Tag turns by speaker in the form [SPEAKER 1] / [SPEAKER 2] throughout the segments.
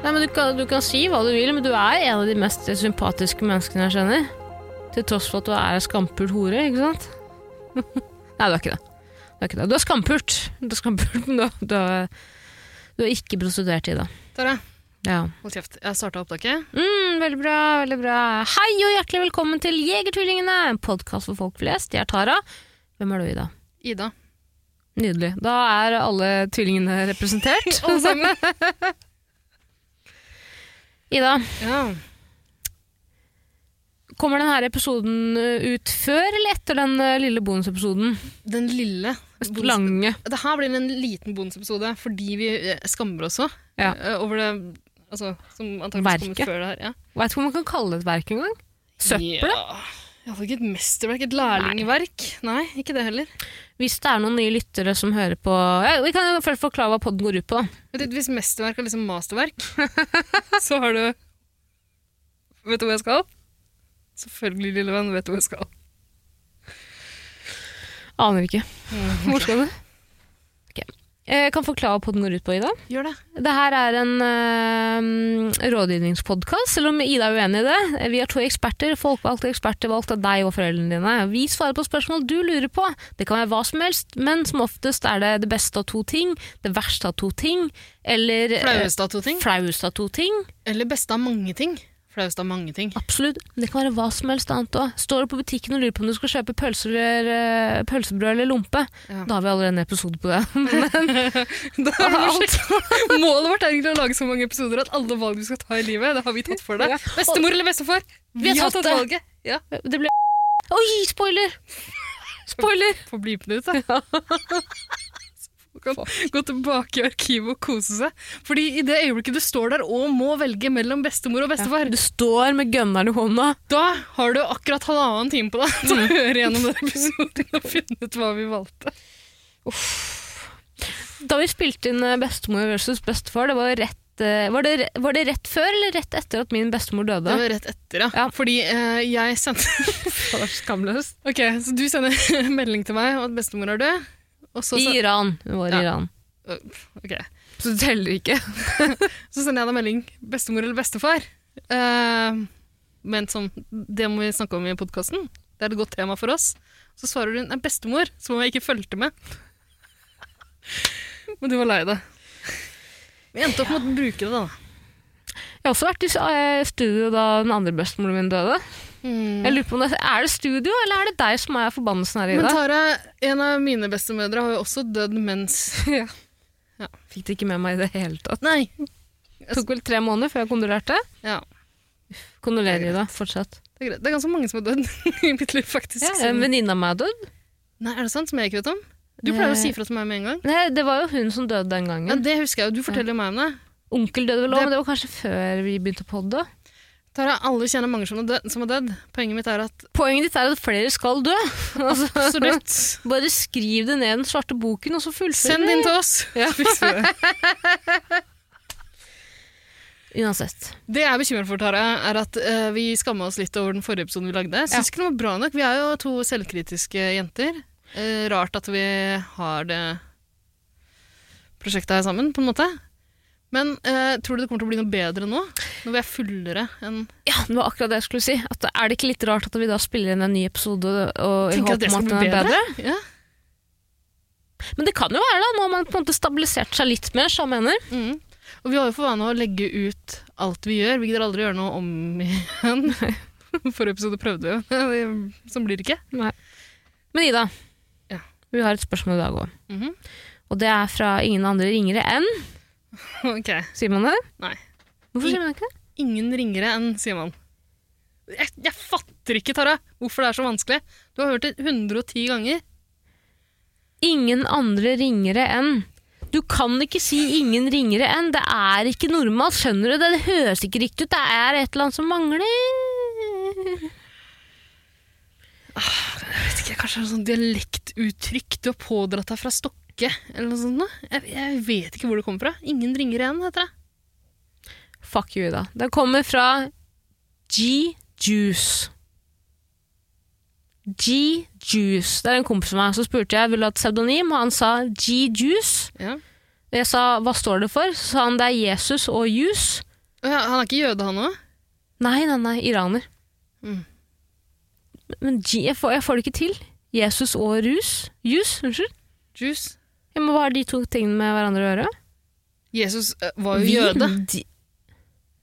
[SPEAKER 1] Nei, men du kan, du kan si hva du vil, men du er en av de mest sympatiske menneskene jeg kjenner. Til tross for at du er ei skampult hore, ikke sant? Nei, du er ikke det. Du er, ikke det. Du er skampult, du er skampult men du, er- du, er, du er ikke prostituert i det.
[SPEAKER 2] Tara,
[SPEAKER 1] Ja.
[SPEAKER 2] hold kjeft. Jeg starta opptaket.
[SPEAKER 1] Mm, veldig bra, veldig bra. Hei og hjertelig velkommen til Jegertvillingene, en podkast for folk flest. Jeg er Tara. Hvem er du, Ida?
[SPEAKER 2] Ida.
[SPEAKER 1] Nydelig. Da er alle tvillingene representert.
[SPEAKER 2] Alle sammen.
[SPEAKER 1] Ida,
[SPEAKER 2] Ja.
[SPEAKER 1] kommer denne episoden ut før eller etter den eh, lille bonusepisoden?
[SPEAKER 2] Den lille bonus-
[SPEAKER 1] Lange.
[SPEAKER 2] Det her blir en liten bonusepisode fordi vi eh, skammer oss òg
[SPEAKER 1] Ja.
[SPEAKER 2] over det altså, som antakeligvis
[SPEAKER 1] Verket.
[SPEAKER 2] kommer før det her. Ja.
[SPEAKER 1] Veit ikke om man kan kalle det et verk engang. Søppelet.
[SPEAKER 2] Ja. Iallfall ikke et mesterverk. Et lærlingverk. Nei. ikke det heller.
[SPEAKER 1] Hvis det er noen nye lyttere som hører på ja, Vi kan jo først forklare hva podden går ut på. da.
[SPEAKER 2] Vet du, hvis mesterverk er liksom masterverk, så har du Vet du hvor jeg skal? Selvfølgelig, lille venn, vet du hvor jeg skal.
[SPEAKER 1] Aner ikke. Hvor skal du? Mhm. Ok. Jeg kan forklare hva podden går ut på, Ida.
[SPEAKER 2] Gjør det.
[SPEAKER 1] Det her er en uh, rådgivningspodkast, selv om Ida er uenig i det. Eh, Vi er to eksperter, folkevalgte eksperter valgt av deg og foreldrene dine. Vi svarer på spørsmål du lurer på. Det kan være hva som helst, men som oftest er det det beste av to ting, det verste av to ting, eller eh,
[SPEAKER 2] Flaueste av to ting.
[SPEAKER 1] flaueste av to ting.
[SPEAKER 2] Eller beste av mange ting. Flaueste av mange ting.
[SPEAKER 1] Absolutt. Det kan være hva som helst annet òg. Står du på butikken og lurer på om du skal kjøpe pølser eller, eh, pølsebrød eller lompe,
[SPEAKER 2] Ja.
[SPEAKER 1] da har vi allerede en episode på det.
[SPEAKER 2] Da er det bare slik. Målet vårt er egentlig å lage så mange episoder at alle valg du skal ta i livet, det har vi tatt for deg.
[SPEAKER 1] Ja.
[SPEAKER 2] Bestemor eller bestefar, vi har tatt
[SPEAKER 1] det.
[SPEAKER 2] valget. Ja,
[SPEAKER 1] Det ble Oi, spoiler! Spoiler!
[SPEAKER 2] Få blipe det ut, da. Så folk kan gå tilbake i arkivet og kose seg. Fordi i det øyeblikket du står der og må velge mellom bestemor og bestefar,
[SPEAKER 1] Du står med gunneren i hånda.
[SPEAKER 2] da har du akkurat halvannen time på deg til å høre gjennom den episoden og finne ut hva vi valgte.
[SPEAKER 1] Da vi spilte inn eh, Bestemor versus bestefar, det var, jo rett, eh, var, det, re- var det rett før eller rett etter at min bestemor
[SPEAKER 2] Det
[SPEAKER 1] døde?
[SPEAKER 2] var rett etter, ja.
[SPEAKER 1] Ja.
[SPEAKER 2] Fordi eh, jeg sendte
[SPEAKER 1] Det var skamløst.
[SPEAKER 2] Ok, så du sender en melding til meg om at bestemor er død, og så,
[SPEAKER 1] I Iran. Hun var i
[SPEAKER 2] Ja.
[SPEAKER 1] Iran.
[SPEAKER 2] ok.
[SPEAKER 1] Så det teller ikke.
[SPEAKER 2] så sender jeg deg melding bestemor eller bestefar. Eh, men sånn, det må vi snakke om i podkasten. Det er et godt tema for oss. Så svarer hun nei, bestemor, som om jeg ikke fulgte med. men du var lei deg. Vi endte opp med å bruke det, da.
[SPEAKER 1] Jeg har også vært i s- eh, studio da den andre bestemoren min døde. Jeg lurer på om det Er det studio, eller er det deg som er forbannelsen her i
[SPEAKER 2] Mm. Men
[SPEAKER 1] dag?
[SPEAKER 2] Tara, en av mine bestemødre har jo også dødd mens
[SPEAKER 1] Fikk det ikke med meg i det hele tatt.
[SPEAKER 2] Nei.
[SPEAKER 1] Det tok vel tre måneder før jeg kondolerte.
[SPEAKER 2] Ja,
[SPEAKER 1] Kondolerer i dag, fortsatt.
[SPEAKER 2] det er greit. Det er ganske mange som har dødd i mitt liv, faktisk.
[SPEAKER 1] Ja,
[SPEAKER 2] som-
[SPEAKER 1] en venninne av meg er død.
[SPEAKER 2] Nei, er det sant? Som jeg ikke vet om? Du pleier å
[SPEAKER 1] Nei.
[SPEAKER 2] si fra til meg med en gang.
[SPEAKER 1] Nei, det var jo hun som døde den
[SPEAKER 2] Ja,
[SPEAKER 1] gangen.
[SPEAKER 2] det husker jeg jo. Du forteller jo meg om det.
[SPEAKER 1] Onkel døde vel òg,
[SPEAKER 2] Det-
[SPEAKER 1] men det var kanskje før vi begynte å podde.
[SPEAKER 2] Tara, alle kjenner mange som er død. Som er dødd. Poenget mitt er at
[SPEAKER 1] Poenget ditt er at flere skal dø. Altså,
[SPEAKER 2] absolutt,
[SPEAKER 1] bare skriv det ned i den svarte boken, og så fullfør
[SPEAKER 2] send
[SPEAKER 1] det.
[SPEAKER 2] inn til oss.
[SPEAKER 1] Ja.
[SPEAKER 2] så fikser vi det.
[SPEAKER 1] Uansett.
[SPEAKER 2] Det jeg er bekymret for, Tara, er at eh, vi skamma oss litt over den forrige episoden vi lagde. Jeg Syns ikke den var bra nok. Vi er jo to selvkritiske jenter. Eh, rart at vi har det prosjektet her sammen, på en måte. Men eh, tror du det kommer til å bli noe bedre nå? Når vi er fullere enn
[SPEAKER 1] Ja, det var akkurat det jeg skulle si. At er det ikke litt rart at vi da spiller inn en ny episode og i
[SPEAKER 2] Tenker at
[SPEAKER 1] håp
[SPEAKER 2] det
[SPEAKER 1] om
[SPEAKER 2] skal
[SPEAKER 1] at den
[SPEAKER 2] bli
[SPEAKER 1] er bedre?
[SPEAKER 2] bedre? Ja.
[SPEAKER 1] Men det kan jo være, da. Nå har man på en måte stabilisert seg litt mer, som jeg mener.
[SPEAKER 2] Mm. Og vi har jo for vane å legge ut alt vi gjør. Vi gidder aldri gjøre noe om igjen. Forrige episode prøvde vi jo. Sånn blir det ikke.
[SPEAKER 1] Men Ida,
[SPEAKER 2] Ja.
[SPEAKER 1] vi har et spørsmål i dag òg.
[SPEAKER 2] Mhm.
[SPEAKER 1] Og det er fra ingen andre ringere enn
[SPEAKER 2] Ok.
[SPEAKER 1] Sier man det?
[SPEAKER 2] Nei.
[SPEAKER 1] Hvorfor sier man ikke det?
[SPEAKER 2] Ingen ringere enn, sier man. Jeg, jeg fatter ikke, Tara, hvorfor det er så vanskelig. Du har hørt det 110 ganger.
[SPEAKER 1] Ingen andre ringere enn. Du kan ikke si ingen ringere enn. Det er ikke normalt, skjønner du? Det høres ikke riktig ut. Det er et eller annet som mangler.
[SPEAKER 2] Jeg vet ikke, Kanskje det er noe sånn dialektuttrykk du har pådratt deg fra Stokke? eller noe sånt. noe. Jeg, jeg vet ikke hvor det kommer fra. Ingen ringer igjen, heter det.
[SPEAKER 1] Fuck you, da. Den kommer fra G-Juice. G-Juice. Det er en kompis av meg. Så spurte jeg ville du ha et pseudonym, og han sa G-Juice.
[SPEAKER 2] Ja.
[SPEAKER 1] Og Jeg sa hva står det for? Så sa han det er Jesus og juice.
[SPEAKER 2] Å ja, Han er ikke jøde, han òg?
[SPEAKER 1] Nei, nei, nei, iraner.
[SPEAKER 2] Mm.
[SPEAKER 1] Men G, jeg, får, jeg får det ikke til. Jesus og rus. Jus, unnskyld.
[SPEAKER 2] Juice.
[SPEAKER 1] Jeg må bare ha de to tingene med hverandre å gjøre.
[SPEAKER 2] Jesus eh, var jo
[SPEAKER 1] Vi-
[SPEAKER 2] jøde.
[SPEAKER 1] de-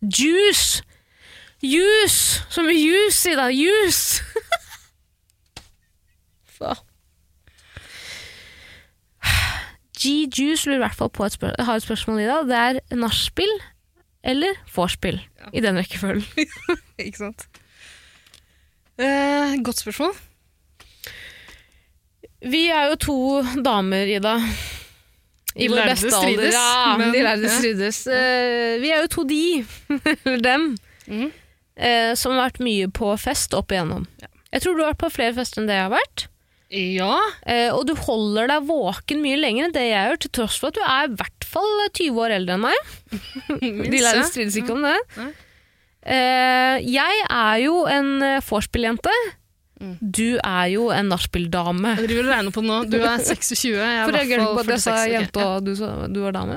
[SPEAKER 1] Juice! Juice! Så mye juice i det. Juice! Faen. G-Juice lurer i hvert fall på et spør har et spørsmål i dag. Det er nachspiel eller vorspiel. I den rekkefølgen.
[SPEAKER 2] Ikke sant? Eh, godt spørsmål.
[SPEAKER 1] Vi er jo to damer, Ida. I
[SPEAKER 2] De
[SPEAKER 1] vår
[SPEAKER 2] lærde
[SPEAKER 1] beste alder.
[SPEAKER 2] strides,
[SPEAKER 1] Ja,
[SPEAKER 2] men-
[SPEAKER 1] de lærde
[SPEAKER 2] ja.
[SPEAKER 1] strides. Eh, vi er jo to de, eller dem,
[SPEAKER 2] Mhm.
[SPEAKER 1] eh, som har vært mye på fest opp igjennom. Jeg tror du har vært på flere fester enn det jeg har vært.
[SPEAKER 2] Ja.
[SPEAKER 1] Eh, og du holder deg våken mye lenger enn det jeg gjør, til tross for at du er i hvert fall 20 år eldre enn meg. De lærde strides ikke om det.
[SPEAKER 2] Mhm. Nei.
[SPEAKER 1] Eh, jeg er jo en eh, vorspiel-jente.
[SPEAKER 2] Mm.
[SPEAKER 1] Du er jo en nachspiel-dame.
[SPEAKER 2] Jeg driver og regner på det nå. Du er 26, jeg er i
[SPEAKER 1] For jeg
[SPEAKER 2] hvert
[SPEAKER 1] glemte på
[SPEAKER 2] fall
[SPEAKER 1] at jeg sa
[SPEAKER 2] 46. ok.
[SPEAKER 1] jente og du, sa- du var dame.
[SPEAKER 2] Ja,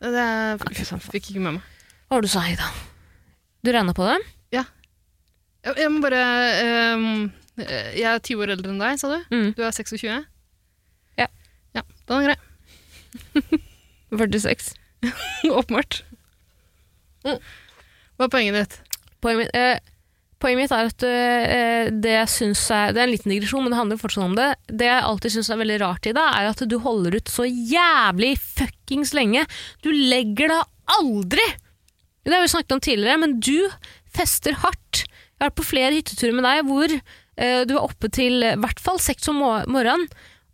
[SPEAKER 2] Det er,
[SPEAKER 1] Nei, ikke sant, faen.
[SPEAKER 2] fikk ikke med meg.
[SPEAKER 1] Hva var det du sa, Ida? Du regna på det?
[SPEAKER 2] Jeg, jeg må bare ehm, eh, Jeg er 20 år eldre enn deg, sa du?
[SPEAKER 1] Mm.
[SPEAKER 2] Du er 26?
[SPEAKER 1] Ja.
[SPEAKER 2] ja da er det grei.
[SPEAKER 1] 46.
[SPEAKER 2] Åpenbart.
[SPEAKER 1] Mm.
[SPEAKER 2] Hva er poenget ditt?
[SPEAKER 1] Poenget mitt, eh, poenget mitt er at eh, det jeg syns er Det er en liten digresjon, men det handler fortsatt om det. Det jeg alltid syns er veldig rart i det, er at du holder ut så jævlig fuckings lenge. Du legger deg aldri! Det har vi snakket om tidligere, men du fester hardt. Jeg har vært på flere hytteturer med deg hvor eh, du er oppe til eh, i hvert fall seks om mor- morgenen,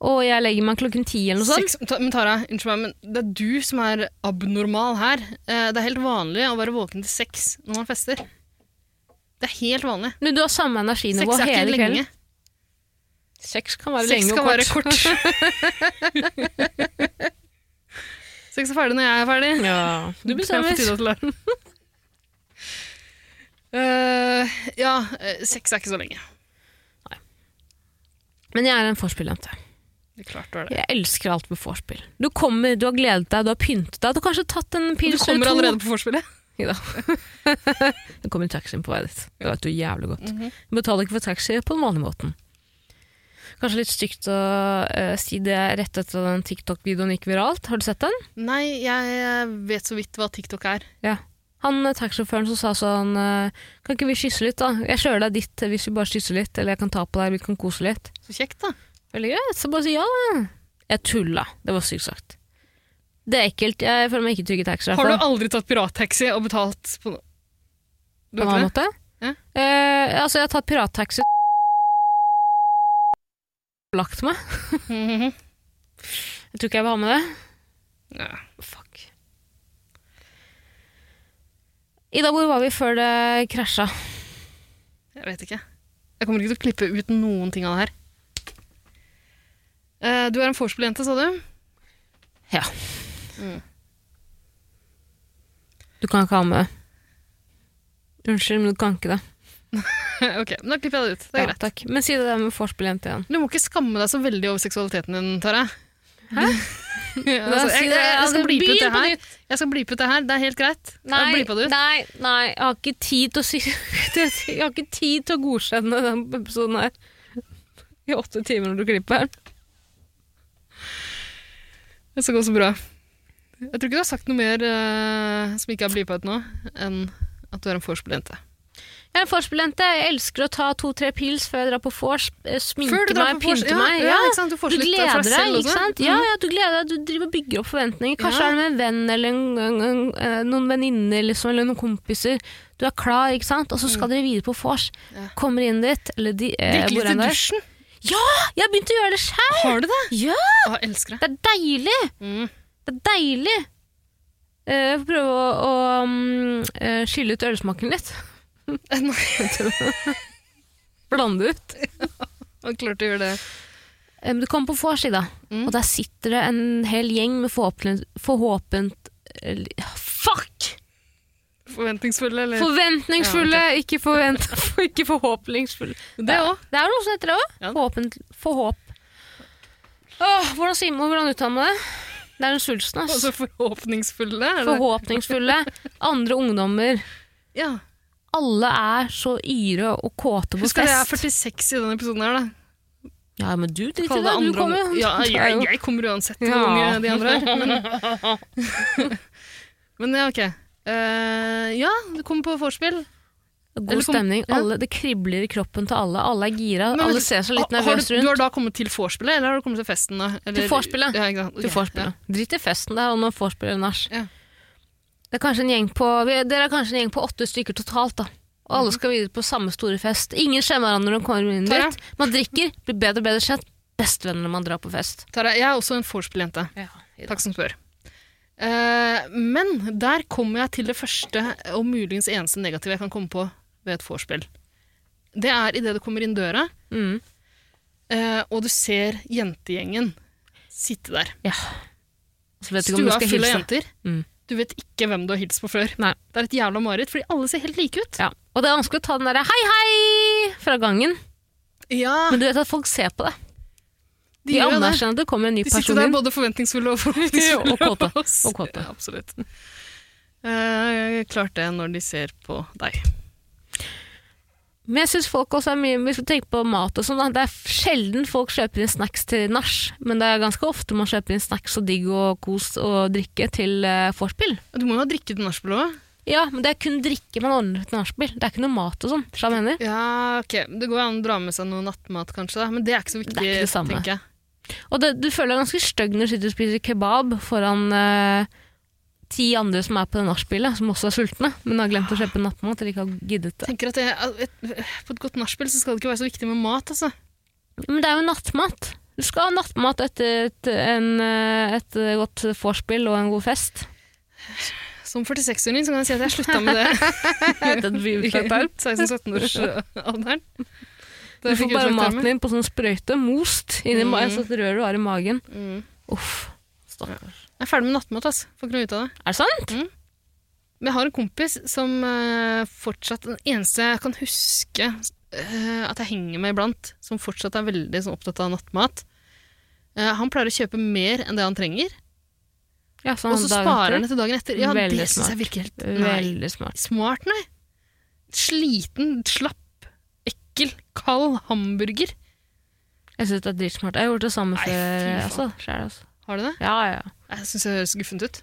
[SPEAKER 1] og jeg legger meg klokken ti eller noe sånt.
[SPEAKER 2] Sex, ta, men Tara, unnskyld meg, men det er du som er abnormal her. Eh, det er helt vanlig å være våken til seks når man fester. Det er helt vanlig.
[SPEAKER 1] Men du har samme energinivå
[SPEAKER 2] Seks er ikke
[SPEAKER 1] hele kvelden.
[SPEAKER 2] lenge.
[SPEAKER 1] Seks kan være
[SPEAKER 2] Seks
[SPEAKER 1] lenge
[SPEAKER 2] skal
[SPEAKER 1] og
[SPEAKER 2] være
[SPEAKER 1] kort.
[SPEAKER 2] kort. Seks er ferdig når jeg er ferdig.
[SPEAKER 1] Ja. Du
[SPEAKER 2] Jeg
[SPEAKER 1] bestemmer.
[SPEAKER 2] får tida til det. Eh, ja, eh, seks er ikke så lenge.
[SPEAKER 1] Men jeg er en vorspieljente.
[SPEAKER 2] Det er klart du er det.
[SPEAKER 1] Jeg elsker alt med vorspiel. Du kommer, du har gledet deg, du har pyntet deg, du har kanskje tatt en
[SPEAKER 2] Du
[SPEAKER 1] pils
[SPEAKER 2] kommer
[SPEAKER 1] eller
[SPEAKER 2] allerede
[SPEAKER 1] to.
[SPEAKER 2] på vorspielet.
[SPEAKER 1] Det kommer en taxi på vei dit. Det vet du jævlig godt. Du betaler ikke for taxi på den vanlige måten. Kanskje litt stygt å eh, si det rett etter at den TikTok-videoen gikk viralt. Har du sett den?
[SPEAKER 2] Nei, jeg vet så vidt hva TikTok er.
[SPEAKER 1] Han eh, taxisjåføren som sa sånn eh, Kan ikke vi kysse litt, da? Jeg kjører deg dit eh, hvis vi bare kysser litt, eller jeg kan ta på deg, vi kan kose litt.
[SPEAKER 2] Så kjekt, da.
[SPEAKER 1] Veldig greit, så bare si ja. da. Jeg tulla. Det var sykt sagt. Det er ekkelt. Jeg føler meg ikke trygg i taxi. i hvert
[SPEAKER 2] Har du
[SPEAKER 1] fall.
[SPEAKER 2] aldri tatt pirattaxi og betalt på noe? Du
[SPEAKER 1] På en
[SPEAKER 2] har
[SPEAKER 1] annen
[SPEAKER 2] ikke det?
[SPEAKER 1] måte?
[SPEAKER 2] Ja.
[SPEAKER 1] Eh, altså, jeg har tatt pirattaxi Lagt meg.
[SPEAKER 2] Mhm.
[SPEAKER 1] Jeg tror ikke jeg vil ha med det.
[SPEAKER 2] Ja.
[SPEAKER 1] Fuck. Ida, hvor var vi før det krasja?
[SPEAKER 2] Jeg vet ikke. Jeg kommer ikke til å klippe ut noen ting av det her. Eh, du er en vorspieljente, sa du?
[SPEAKER 1] Du kan ikke ha med det. Unnskyld, men du kan ikke det.
[SPEAKER 2] ok, men da klipper jeg det ut. Det er
[SPEAKER 1] Ja,
[SPEAKER 2] greit.
[SPEAKER 1] takk. Men si det der med vorspieljente igjen.
[SPEAKER 2] Du må ikke skamme deg så veldig over seksualiteten din, Tara.
[SPEAKER 1] Hæ?
[SPEAKER 2] Ja, altså,
[SPEAKER 1] Da
[SPEAKER 2] jeg,
[SPEAKER 1] si
[SPEAKER 2] jeg,
[SPEAKER 1] det.
[SPEAKER 2] jeg
[SPEAKER 1] Altså,
[SPEAKER 2] skal blipe ut det
[SPEAKER 1] begynn på
[SPEAKER 2] her. Jeg skal blipe ut det her, det er helt greit.
[SPEAKER 1] Nei,
[SPEAKER 2] Jeg blipa det ut.
[SPEAKER 1] nei, nei, jeg har ikke tid til å si Jeg har ikke tid til å godkjenne den episoden her i åtte timer når du klipper den.
[SPEAKER 2] Det skal gå så bra. Jeg tror ikke du har sagt noe mer eh, som ikke er blipa ut nå, enn at du er en vorspiel-jente.
[SPEAKER 1] Jeg er en vorspiel-jente. Jeg elsker å ta to-tre pils før jeg drar på vors. eh,
[SPEAKER 2] Før du
[SPEAKER 1] Sminke
[SPEAKER 2] drar
[SPEAKER 1] meg,
[SPEAKER 2] på vors-
[SPEAKER 1] pynte
[SPEAKER 2] ja,
[SPEAKER 1] meg.
[SPEAKER 2] Ja,
[SPEAKER 1] Ja,
[SPEAKER 2] ikke sant? Du får
[SPEAKER 1] Du
[SPEAKER 2] så litt
[SPEAKER 1] gleder
[SPEAKER 2] for deg
[SPEAKER 1] deg,
[SPEAKER 2] selv
[SPEAKER 1] ikke
[SPEAKER 2] også.
[SPEAKER 1] sant? Mm. Ja, ja, du gleder deg. Du driver og bygger opp forventninger. Kanskje
[SPEAKER 2] sånn. Mm. Ja.
[SPEAKER 1] er det med en venn eller en, en, en, noen venninner liksom, eller noen kompiser. Du er klar, ikke sant? Og så skal dere videre på vors.
[SPEAKER 2] Mm. Ja.
[SPEAKER 1] Kommer inn dit, eller de, eh,
[SPEAKER 2] Drikke
[SPEAKER 1] hvor
[SPEAKER 2] litt i
[SPEAKER 1] enn det er.
[SPEAKER 2] dusjen.
[SPEAKER 1] Jeg har begynt å gjøre det sjæl!
[SPEAKER 2] Har du det?
[SPEAKER 1] Ja,
[SPEAKER 2] Å, jeg elsker det.
[SPEAKER 1] det er deilig!
[SPEAKER 2] Mm.
[SPEAKER 1] Det er deilig! Eh, Jeg får prøve å, å mm, eh, skylle ut ølsmaken litt.
[SPEAKER 2] Nei,
[SPEAKER 1] Blande ut.
[SPEAKER 2] Og klarte å gjøre det.
[SPEAKER 1] Eh, Men du kommer på vorsi, da.
[SPEAKER 2] Mm.
[SPEAKER 1] Og der sitter det en hel gjeng med forhåpent... forhåpent eh, Fuck!
[SPEAKER 2] Forventningsfulle, eller
[SPEAKER 1] Forventningsfulle, ikke, forvent, ikke forhåpningsfulle.
[SPEAKER 2] Det òg.
[SPEAKER 1] Det er noe som heter det òg.
[SPEAKER 2] Ja.
[SPEAKER 1] Forhåpent... Forhåp... Åh, hvordan sier man hvordan uttaler man det? Det er den svulsten, ass.
[SPEAKER 2] Altså forhåpningsfulle. er det-
[SPEAKER 1] Forhåpningsfulle. Andre ungdommer.
[SPEAKER 2] Ja.
[SPEAKER 1] Alle er så yre og kåte på
[SPEAKER 2] Husk at jeg er
[SPEAKER 1] fest.
[SPEAKER 2] 46 i denne episoden her, da.
[SPEAKER 1] Ja, men du driter i
[SPEAKER 2] Kall det
[SPEAKER 1] det. Du
[SPEAKER 2] andre
[SPEAKER 1] kommer
[SPEAKER 2] om-
[SPEAKER 1] jo.
[SPEAKER 2] Ja,
[SPEAKER 1] Det er
[SPEAKER 2] jeg,
[SPEAKER 1] jo-
[SPEAKER 2] jeg kommer uansett hvor
[SPEAKER 1] Ja.
[SPEAKER 2] unge de andre er. Men, men ja, ok. Eh, ja, du kommer på vorspiel.
[SPEAKER 1] God
[SPEAKER 2] Eller kom-
[SPEAKER 1] stemning.
[SPEAKER 2] ja.
[SPEAKER 1] Alle, det kribler i kroppen til alle. Alle er gira.
[SPEAKER 2] Men-
[SPEAKER 1] alle ser seg litt
[SPEAKER 2] Ah, har
[SPEAKER 1] nervøse
[SPEAKER 2] du, du
[SPEAKER 1] rundt.
[SPEAKER 2] har da kommet til vorspielet, eller har du kommet til festen? da? Eller,
[SPEAKER 1] Til vorspielet.
[SPEAKER 2] Ja, ikke sant?
[SPEAKER 1] Til
[SPEAKER 2] Ok,
[SPEAKER 1] vorspielet. Drit i festen der, og nå vorspielet nach.
[SPEAKER 2] Ja.
[SPEAKER 1] Det er kanskje en gjeng på vi- Dere er kanskje en gjeng på åtte stykker totalt, da. Og alle skal videre på samme store fest. Ingen skjemmer hverandre når de kommer inn
[SPEAKER 2] Mhm. Tara?
[SPEAKER 1] dit. Man drikker, blir bedre og bedre kjent. Bestevenner når man drar på fest.
[SPEAKER 2] Ja. Tara, jeg er også en vorspiel-jente.
[SPEAKER 1] Ja.
[SPEAKER 2] Takk som spør. Eh, men der kommer jeg til det første og muligens eneste negative jeg kan komme på ved et vorspiel. Det er idet du kommer inn døra,
[SPEAKER 1] Mm.
[SPEAKER 2] eh, og du ser jentegjengen sitte der.
[SPEAKER 1] ja. Så vet du ikke om du
[SPEAKER 2] Stua
[SPEAKER 1] skal
[SPEAKER 2] er full av
[SPEAKER 1] hilse.
[SPEAKER 2] jenter.
[SPEAKER 1] Mm.
[SPEAKER 2] Du vet ikke hvem du har hilst på før.
[SPEAKER 1] Nei.
[SPEAKER 2] Det er et jævla mareritt, fordi alle ser helt like ut.
[SPEAKER 1] Ja. Og det er vanskelig å ta den derre hei, hei fra gangen.
[SPEAKER 2] Ja,
[SPEAKER 1] Men du vet at folk ser på det.
[SPEAKER 2] de,
[SPEAKER 1] De,
[SPEAKER 2] gjør jo det.
[SPEAKER 1] anerkjenner at det kommer en ny
[SPEAKER 2] De
[SPEAKER 1] person
[SPEAKER 2] sitter der
[SPEAKER 1] inn.
[SPEAKER 2] både forventningsfulle og forhåpningsfulle.
[SPEAKER 1] Og kåte.
[SPEAKER 2] oss.
[SPEAKER 1] Og kåte.
[SPEAKER 2] Ja, absolutt. Eh, klart det når de ser på deg.
[SPEAKER 1] Men jeg synes folk også er mye, Hvis vi tenker på mat og sånn, da, det er sjelden folk kjøper inn snacks til nach, men det er ganske ofte man kjøper inn snacks og digg og kos og drikke til eh, vorspiel.
[SPEAKER 2] Du må jo ha drikket nachspiel òg.
[SPEAKER 1] Ja, men det er kun drikke man ordner til nachspiel. Det er ikke noe mat og sånn. skjønner du hva jeg mener?
[SPEAKER 2] Ja, ok. Det går jo an å dra med seg noe nattmat, kanskje, da. men det er ikke så viktig.
[SPEAKER 1] Det er ikke det samme.
[SPEAKER 2] tenker jeg.
[SPEAKER 1] Og det, du føler deg ganske stygg når du sitter og spiser kebab foran eh, ti andre som er på det nachspielet, som også er sultne, men har glemt å kjøpe nattmat eller ikke har giddet det.
[SPEAKER 2] tenker at det, at et, På et godt nachspiel så skal det ikke være så viktig med mat, altså.
[SPEAKER 1] Men det er jo nattmat. Du skal ha nattmat etter et, en, eh, et godt vorspiel og en god fest.
[SPEAKER 2] Som 46-åring så kan jeg si at jeg slutta med det.
[SPEAKER 1] Den blir
[SPEAKER 2] i
[SPEAKER 1] utslått her.
[SPEAKER 2] 16-17-årsalderen.
[SPEAKER 1] Du får bare maten din på sånn sprøyte, most, inni
[SPEAKER 2] Mm.
[SPEAKER 1] mm. så at røret var i magen.
[SPEAKER 2] Mm.
[SPEAKER 1] Uff. Stakkars.
[SPEAKER 2] Jeg er ferdig med nattmat, ass. Får ikke noe ut av det.
[SPEAKER 1] Er det sant?
[SPEAKER 2] Men jeg har en kompis som eh, fortsatt Den eneste jeg kan huske eh, at jeg henger med iblant, som fortsatt er veldig sånn, opptatt av nattmat. Eh, han pleier å kjøpe mer enn det han trenger,
[SPEAKER 1] Ja, så
[SPEAKER 2] og så
[SPEAKER 1] dagen
[SPEAKER 2] sparer han
[SPEAKER 1] etter.
[SPEAKER 2] etter dagen etter. Ja,
[SPEAKER 1] Veldig
[SPEAKER 2] det syns
[SPEAKER 1] smart.
[SPEAKER 2] jeg virker helt nei.
[SPEAKER 1] Veldig smart.
[SPEAKER 2] smart, nei. Sliten, slapp, ekkel, kald hamburger.
[SPEAKER 1] Jeg syns det er dritsmart. Jeg har gjort det samme
[SPEAKER 2] Nei, fy
[SPEAKER 1] før.
[SPEAKER 2] faen.
[SPEAKER 1] Altså, selv, altså.
[SPEAKER 2] Har du det?
[SPEAKER 1] Ja, ja.
[SPEAKER 2] Jeg syns det høres guffent ut.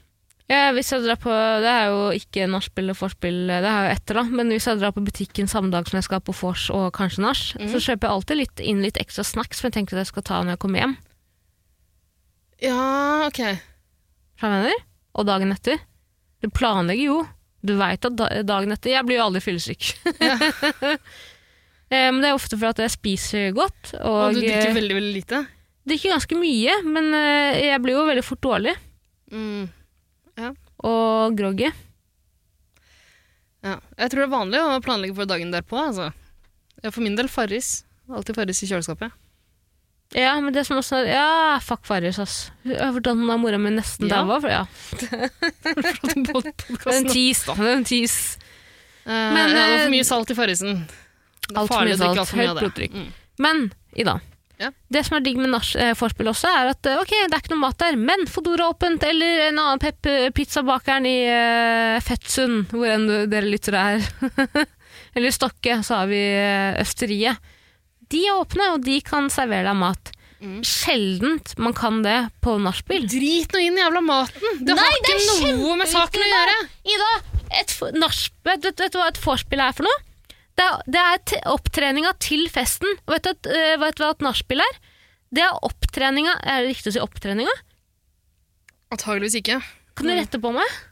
[SPEAKER 1] Ja, hvis jeg drar på, Det er jo ikke nachspiel og vorspiel, det er jo etter, da. Men hvis jeg drar på butikken samme dag som jeg skal på vors og kanskje nach,
[SPEAKER 2] Mm.
[SPEAKER 1] så kjøper jeg alltid litt, inn litt ekstra snacks som jeg tenker at jeg skal ta når jeg kommer hjem.
[SPEAKER 2] Ja, ok.
[SPEAKER 1] Skjønner du hva jeg mener? Og dagen etter. Du planlegger jo. Du veit at da dagen etter Jeg blir jo aldri fyllesyk. Eh, Men det er ofte for at jeg spiser godt. Og,
[SPEAKER 2] Og du
[SPEAKER 1] eh,
[SPEAKER 2] drikker veldig, veldig lite.
[SPEAKER 1] drikker ganske mye, men eh, jeg blir jo veldig fort dårlig
[SPEAKER 2] Mm.
[SPEAKER 1] og groggy.
[SPEAKER 2] Ja. Jeg tror det er vanlig å planlegge for dagen derpå. Altså. Ja, for min del Farris. Alltid Farris i kjøleskapet.
[SPEAKER 1] Ja, men det som også er Ja, fuck Farris, ass. Jeg har fortalt den da mora mi nesten
[SPEAKER 2] Ja.
[SPEAKER 1] daua. for- Ja. Det er en tis, da. Det er en tis.
[SPEAKER 2] Men, ja, det var
[SPEAKER 1] eh,
[SPEAKER 2] for mye salt i Farrisen. Det er
[SPEAKER 1] alt for
[SPEAKER 2] farlig
[SPEAKER 1] mye
[SPEAKER 2] å drikke
[SPEAKER 1] salt,
[SPEAKER 2] alt for mye
[SPEAKER 1] høyt
[SPEAKER 2] av det.
[SPEAKER 1] blodtrykk.
[SPEAKER 2] Mm.
[SPEAKER 1] Men, Ida.
[SPEAKER 2] Ja.
[SPEAKER 1] Det som er digg med nach- eh, vorspiel også, er at eh, ok, det er ikke noe mat der, men Fodora er åpent, eller en annen pep pizzabakeren i eh, Fettsund, hvor enn du- dere lyttere er. eller i Stokke, så har vi eh, Østeriet. De er åpne, og de kan servere deg mat.
[SPEAKER 2] Mm.
[SPEAKER 1] Sjeldent man kan det på nachspiel.
[SPEAKER 2] Drit nå inn i jævla maten!
[SPEAKER 1] Nei,
[SPEAKER 2] Det har
[SPEAKER 1] det er
[SPEAKER 2] ikke noe med saken å
[SPEAKER 1] kjempeviktig,
[SPEAKER 2] gjøre!
[SPEAKER 1] Ida, et f- nachspiel- vet, vet, vet du hva et vorspiel er for noe? Det er, det er t- opptreninga til festen. Og Vet du, at, eh, vet du hva et nachspiel er? Det er opptreninga Er det riktig å si opptreninga?
[SPEAKER 2] Antageligvis ikke.
[SPEAKER 1] Kan du
[SPEAKER 2] Mm.
[SPEAKER 1] rette på meg?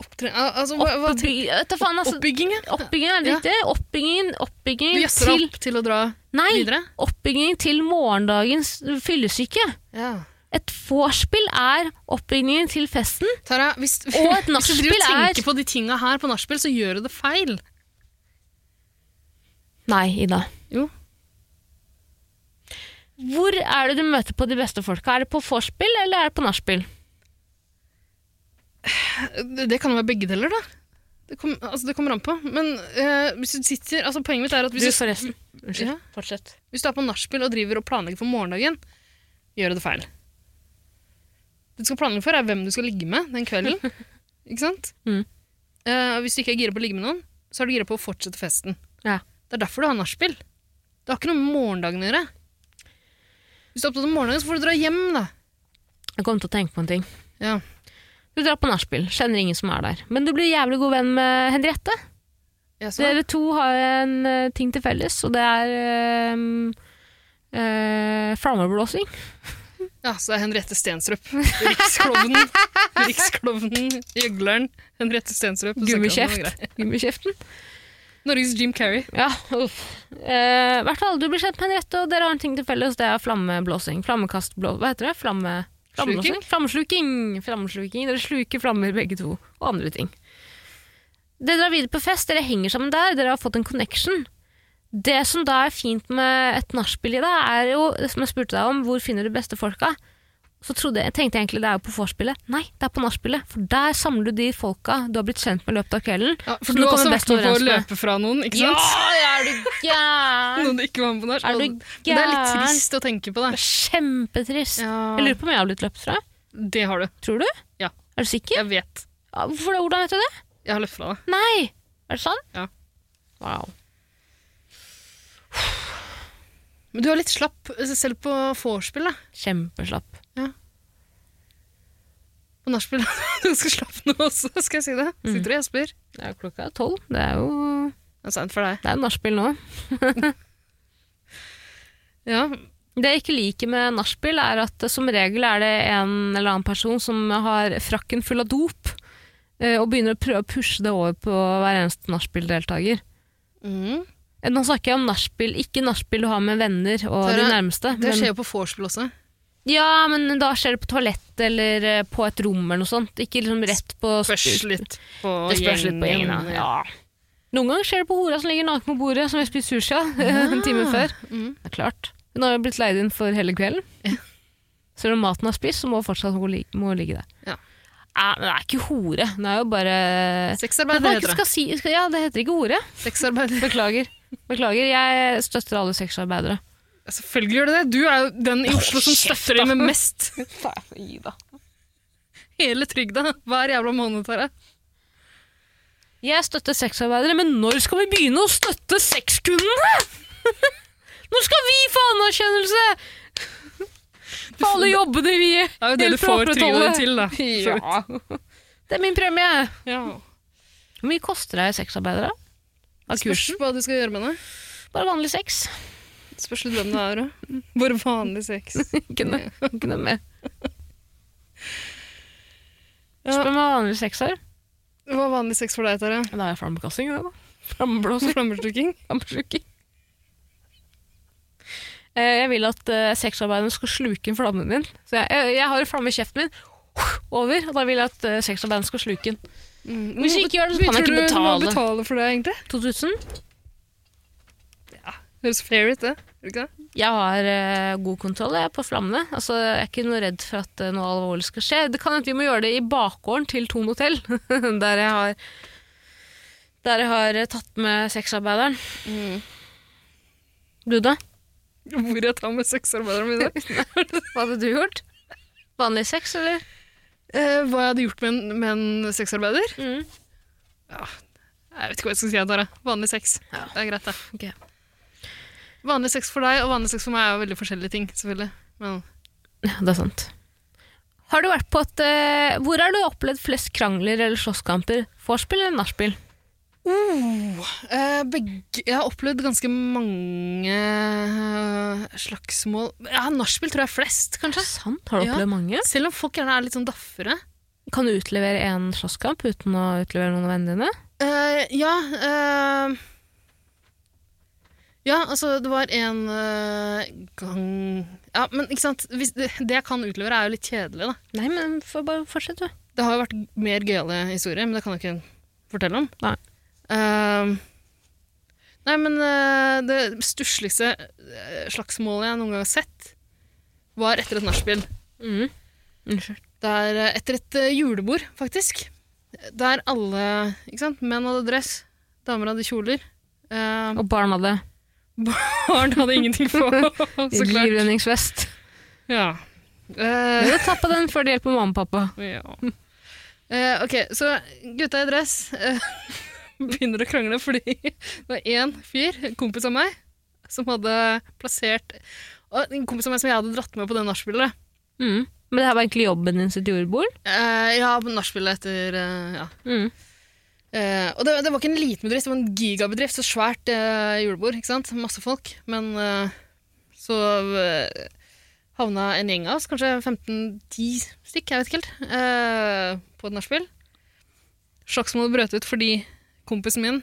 [SPEAKER 2] Opptre al- altså, hva, hva,
[SPEAKER 1] Oppby, vet du faen, altså,
[SPEAKER 2] oppbyggingen?
[SPEAKER 1] oppbyggingen er det
[SPEAKER 2] Ja.
[SPEAKER 1] riktig. Oppbyggingen,
[SPEAKER 2] Du
[SPEAKER 1] oppbyggingen
[SPEAKER 2] jazzer deg
[SPEAKER 1] til
[SPEAKER 2] opp til å dra
[SPEAKER 1] Nei!
[SPEAKER 2] videre?
[SPEAKER 1] Oppbyggingen til morgendagens fyllesyke.
[SPEAKER 2] Ja.
[SPEAKER 1] Et vorspiel er oppbyggingen til festen.
[SPEAKER 2] Tara, hvis, hvis
[SPEAKER 1] Og et
[SPEAKER 2] du
[SPEAKER 1] nachspiel
[SPEAKER 2] driver og
[SPEAKER 1] er-
[SPEAKER 2] tenker på de tinga her på nachspiel, så gjør du det feil.
[SPEAKER 1] Nei, Ida.
[SPEAKER 2] Jo.
[SPEAKER 1] Hvor er det du møter på de beste folka? Er det på vorspiel eller er det på nachspiel?
[SPEAKER 2] Det det kan jo være begge deler, da. Det, kom, altså, det kommer an på. Men eh, hvis du sitter altså, Poenget mitt er at
[SPEAKER 1] Du,
[SPEAKER 2] hvis du,
[SPEAKER 1] forresten. Unnskyld.
[SPEAKER 2] Ja.
[SPEAKER 1] Fortsett.
[SPEAKER 2] hvis du er på nachspiel og driver og planlegger for morgendagen, gjør du det feil. Det du skal planlegge for, er hvem du skal ligge med den kvelden. ikke sant?
[SPEAKER 1] Mm.
[SPEAKER 2] Eh, og hvis du ikke er gira på å ligge med noen, så er du gira på å fortsette festen.
[SPEAKER 1] Ja.
[SPEAKER 2] Det er derfor du har nachspiel. Det har ikke noe med morgendagen å gjøre. Hvis du er opptatt av morgendagen, så får du dra hjem, da.
[SPEAKER 1] Jeg kom til å tenke på en ting.
[SPEAKER 2] Ja.
[SPEAKER 1] Du drar på nachspiel, kjenner ingen som er der. Men du blir jævlig god venn med Henriette.
[SPEAKER 2] Ja, så,
[SPEAKER 1] Dere to har en eh, ting til felles, og det er um, uh, flammeblåsing.
[SPEAKER 2] ja, så er Henriette Stenstrup. Riksklovnen. Riksklovnen, gjøgleren. Henriette Stenstrup. Så snakker vi om noe greier.
[SPEAKER 1] Gummikjeft. Gummikjeften.
[SPEAKER 2] Norges Jim Carrey.
[SPEAKER 1] Ja, uff. Eh, I hvert fall, du blir kjent med Henriette, og dere har en ting til felles, det er flammeblåsing. Flammekastblå... Hva heter det? Flamme... Flammesluking? Flammesluking. Flammesluking. Dere sluker flammer begge to, og andre ting. Dere drar videre på fest, dere henger sammen der, dere har fått en connection. Det som da er fint med et nachspiel i det, er jo, som jeg spurte deg om, hvor finner du de beste folka? Så trodde, jeg tenkte jeg egentlig det er jo på vorspielet. Nei, det er på nachspielet, for der samler du de folka du har blitt kjent med i løpet av kvelden.
[SPEAKER 2] Ja,
[SPEAKER 1] Så
[SPEAKER 2] for du
[SPEAKER 1] nå
[SPEAKER 2] har også
[SPEAKER 1] kommer
[SPEAKER 2] vært
[SPEAKER 1] best
[SPEAKER 2] med på å
[SPEAKER 1] overens med-
[SPEAKER 2] løpe fra noen, ikke
[SPEAKER 1] Ja,
[SPEAKER 2] sant?
[SPEAKER 1] er du gæren!
[SPEAKER 2] Noen du ikke var med på nach.
[SPEAKER 1] Er du
[SPEAKER 2] Men Det er litt
[SPEAKER 1] gæren?
[SPEAKER 2] trist å tenke på, det.
[SPEAKER 1] Kjempetrist. Jeg
[SPEAKER 2] Ja,
[SPEAKER 1] lurer på om jeg har blitt løpt fra.
[SPEAKER 2] det har du.
[SPEAKER 1] Tror du?
[SPEAKER 2] Ja.
[SPEAKER 1] Er du sikker?
[SPEAKER 2] Jeg vet.
[SPEAKER 1] Ja, Hvorfor det? Hvordan vet du det?
[SPEAKER 2] Jeg har løpt fra deg.
[SPEAKER 1] Nei! Er det sant?
[SPEAKER 2] Ja.
[SPEAKER 1] Wow.
[SPEAKER 2] Men du er litt slapp eh, selv på vorspiel, da.
[SPEAKER 1] Kjempeslapp.
[SPEAKER 2] På nachspiel er du ganske slapp nå også, skal jeg si det.
[SPEAKER 1] Mm.
[SPEAKER 2] Sitter og gjesper.
[SPEAKER 1] Det er jo klokka tolv. Det er jo
[SPEAKER 2] Det er seint for deg.
[SPEAKER 1] det er jo nachspiel nå.
[SPEAKER 2] Ja,
[SPEAKER 1] Det jeg ikke liker med nachspiel, er at eh, som regel er det en eller annen person som har frakken full av dop, eh, og begynner å prøve å pushe det over på hver eneste nachspiel-deltaker.
[SPEAKER 2] mm.
[SPEAKER 1] Eh, Nå snakker jeg om nachspiel, ikke nachspiel du har med venner og
[SPEAKER 2] Tara,
[SPEAKER 1] de nærmeste.
[SPEAKER 2] Det
[SPEAKER 1] men-
[SPEAKER 2] skjer jo på vorspiel også.
[SPEAKER 1] Ja, men da skjer det på toalett eller eh, på et rom eller noe sånt. Ikke liksom rett på
[SPEAKER 2] Spørs litt på
[SPEAKER 1] Det spørs litt på gjengen.
[SPEAKER 2] gjengen,
[SPEAKER 1] Ja. Noen ganger skjer det på hora som ligger naken på bordet, som vi har spist sushi av en time før.
[SPEAKER 2] Mm.
[SPEAKER 1] Det er klart. Hun har jo blitt leid inn for hele kvelden. Selv om maten er spist, så må hun fortsatt må ligge, må ligge der.
[SPEAKER 2] Ja.
[SPEAKER 1] Nei, men det er ikke hore. Det er jo bare
[SPEAKER 2] Sexarbeid
[SPEAKER 1] Hva
[SPEAKER 2] det
[SPEAKER 1] er det
[SPEAKER 2] heter det.
[SPEAKER 1] skal si, skal, Ja, det heter ikke hore.
[SPEAKER 2] Sexarbeid.
[SPEAKER 1] Beklager. Beklager, jeg støtter alle sexarbeidere.
[SPEAKER 2] Selvfølgelig gjør det det. Du er jo den i Oslo som støtter dem med mest. Hele trygda hver jævla måned, Tara.
[SPEAKER 1] Jeg støtter sexarbeidere, men når skal vi begynne å støtte sexkundene?! Når skal vi få anerkjennelse?! For alle jobbene vi
[SPEAKER 2] Det er jo det du får trynet ditt til, da.
[SPEAKER 1] Ja. Det er min premie!
[SPEAKER 2] Ja.
[SPEAKER 1] Hvor mye koster det sexarbeidere? Av
[SPEAKER 2] Spørs
[SPEAKER 1] kursen?
[SPEAKER 2] hva du skal gjøre med det.
[SPEAKER 1] Bare vanlig sex.
[SPEAKER 2] Spørs litt hvem det er òg. Bare vanlig sex.
[SPEAKER 1] Ikke noe, ikke noe mer.
[SPEAKER 2] Ja.
[SPEAKER 1] Spør meg hva vanlig sex er.
[SPEAKER 2] Hva er vanlig sex for deg, Tara?
[SPEAKER 1] Da er flammekasting, det, da. Flammeblås.
[SPEAKER 2] Flammeslukking?
[SPEAKER 1] flammesluking. Eh, Jeg vil at eh, sexarbeideren skal sluke inn flammen min. Så jeg, jeg, jeg har en flamme i kjeften min, over, og da vil jeg at eh, sexarbeideren skal sluke den.
[SPEAKER 2] Mm.
[SPEAKER 1] Hvis
[SPEAKER 2] Hvor-
[SPEAKER 1] ikke gjør det, så
[SPEAKER 2] hvor mye
[SPEAKER 1] kan jeg ikke
[SPEAKER 2] tror du du må
[SPEAKER 1] betale.
[SPEAKER 2] betale for det, egentlig?
[SPEAKER 1] 2000.
[SPEAKER 2] Høres fair ut, det. Gjør det Ikke det?
[SPEAKER 1] Jeg har eh, god kontroll jeg, på flammene. Altså, jeg er ikke noe redd for at eh, noe alvorlig skal skje. Det kan hende vi må gjøre det i bakgården til Thon hotell, der jeg har, der jeg har eh, tatt med sexarbeideren.
[SPEAKER 2] Mm.
[SPEAKER 1] Du, da?
[SPEAKER 2] Hvor jeg tar med sexarbeiderne mine.
[SPEAKER 1] Hva hadde du gjort? Vanlig sex, eller?
[SPEAKER 2] Eh, hva jeg hadde gjort med en, med en sexarbeider?
[SPEAKER 1] Mm.
[SPEAKER 2] Jeg vet ikke hva jeg skal si, Tara. Vanlig sex.
[SPEAKER 1] Ja.
[SPEAKER 2] Det er greit, det.
[SPEAKER 1] Ok.
[SPEAKER 2] Vanlig sex for deg og vanlig sex for meg er jo veldig forskjellige ting, selvfølgelig. Men
[SPEAKER 1] Ja, det er sant. Har du vært på et eh, Hvor har du opplevd flest krangler eller slåsskamper? Vorspiel eller nachspiel?
[SPEAKER 2] Eh, begge, jeg har opplevd ganske mange eh, slagsmål. Ja, Nachspiel tror jeg er flest, kanskje.
[SPEAKER 1] Sant, har du
[SPEAKER 2] Ja.
[SPEAKER 1] opplevd mange?
[SPEAKER 2] Selv om folk gjerne er litt sånn daffere.
[SPEAKER 1] Kan du utlevere én slåsskamp uten å utlevere noen av vennene dine?
[SPEAKER 2] Eh, ja eh, Ja, altså, det var en eh, gang Ja, men ikke sant Hvis, det, det jeg kan utlevere, er jo litt kjedelig, da.
[SPEAKER 1] Nei, men får bare fortsett, du.
[SPEAKER 2] Det har jo vært mer gøyale historier, men det kan jeg ikke fortelle om.
[SPEAKER 1] Nei.
[SPEAKER 2] Eh, Ehm, Nei, men eh, det stussligste eh, slagsmålet jeg noen gang har sett, var etter et nachspiel.
[SPEAKER 1] Mm. Unnskyld.
[SPEAKER 2] Der, eh, etter et eh, julebord, faktisk. Der alle ikke sant? Menn hadde dress, damer hadde kjoler. eh,
[SPEAKER 1] Og barna hadde
[SPEAKER 2] barn hadde ingenting på, så klart.
[SPEAKER 1] livredningsvest.
[SPEAKER 2] Ja. Eh,
[SPEAKER 1] Du ta på den før det hjelper mamma og pappa.
[SPEAKER 2] Ja. Eh, ok, så gutta i dress eh, begynner å krangle fordi det var én fyr, en kompis av meg, som hadde plassert og En kompis av meg som jeg hadde dratt med på det nachspielet.
[SPEAKER 1] Mm. Men det her var egentlig jobben din sitt jordbord.
[SPEAKER 2] Eh, ja, på nachspielet etter eh, Ja.
[SPEAKER 1] Mm.
[SPEAKER 2] Eh, og det, det var ikke en liten bedrift, det var en gigabedrift. Så svært eh, julebord. ikke sant? Masse folk. Men eh, så eh, havna en gjeng av oss, kanskje 15-10 stykk, jeg vet ikke helt, eh, på et nachspiel. Slagsmålet brøt ut fordi kompisen min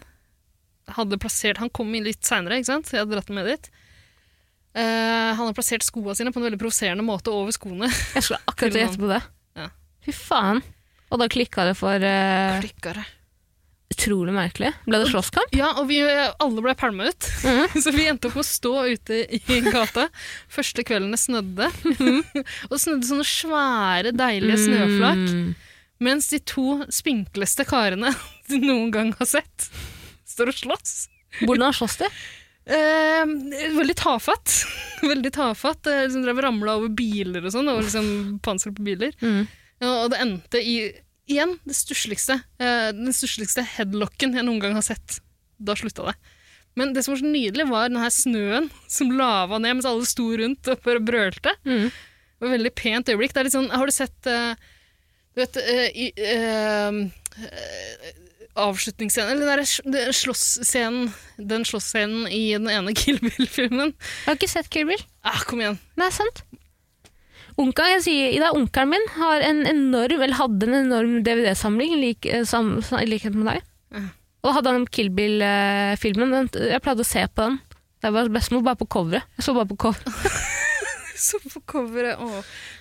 [SPEAKER 2] hadde plassert Han kom inn litt seinere, ikke sant? Jeg hadde dratt ham med dit. Eh, han hadde plassert skoene sine på en veldig provoserende måte over skoene.
[SPEAKER 1] Jeg skulle akkurat til å gjette på det.
[SPEAKER 2] Ja.
[SPEAKER 1] Fy faen. Og da klikka det for eh,
[SPEAKER 2] Klikkere.
[SPEAKER 1] Utrolig merkelig. Ble det slåsskamp?
[SPEAKER 2] Ja, og vi alle ble pælma ut.
[SPEAKER 1] Mhm.
[SPEAKER 2] Så vi endte opp med å stå ute i gata. Første kvelden det snødde. og det snødde sånne svære, deilige snøflak.
[SPEAKER 1] Mhm. Mm.
[SPEAKER 2] Mens de to spinkleste karene du noen gang har sett, står og slåss.
[SPEAKER 1] Hvordan slåss de?
[SPEAKER 2] Eh, veldig tafatt. veldig tafatt. Eh, liksom drev og ramla over biler og sånn, og liksom panser på biler.
[SPEAKER 1] Mm.
[SPEAKER 2] Ja, og det endte i igjen det stussligste. Eh, den stussligste headlocken jeg noen gang har sett. Da slutta det. Men det som var så nydelig, var den her snøen som lava ned mens alle sto rundt og bare brølte.
[SPEAKER 1] Mm.
[SPEAKER 2] Det var et veldig pent øyeblikk. Det er litt sånn, har du sett eh, du vet, eh, i, eh, eh, avslutningsscenen, eller den der sl- det- slåssscenen, den slåssscenen i den ene Kill Bill-filmen.
[SPEAKER 1] Jeg har ikke sett Kill Bill.
[SPEAKER 2] Ah, kom igjen.
[SPEAKER 1] Det er sant. Onkel, jeg sier, Ida, onkelen min har en enorm, eller hadde en enorm DVD-samling lik, eh, sam, sam- i likhet med deg.
[SPEAKER 2] Ja.
[SPEAKER 1] Og da hadde han Kill Bill-filmen. jeg pleide å se på den. Det var bestemor bare på coveret. Jeg så bare på cover.
[SPEAKER 2] Så på coveret å.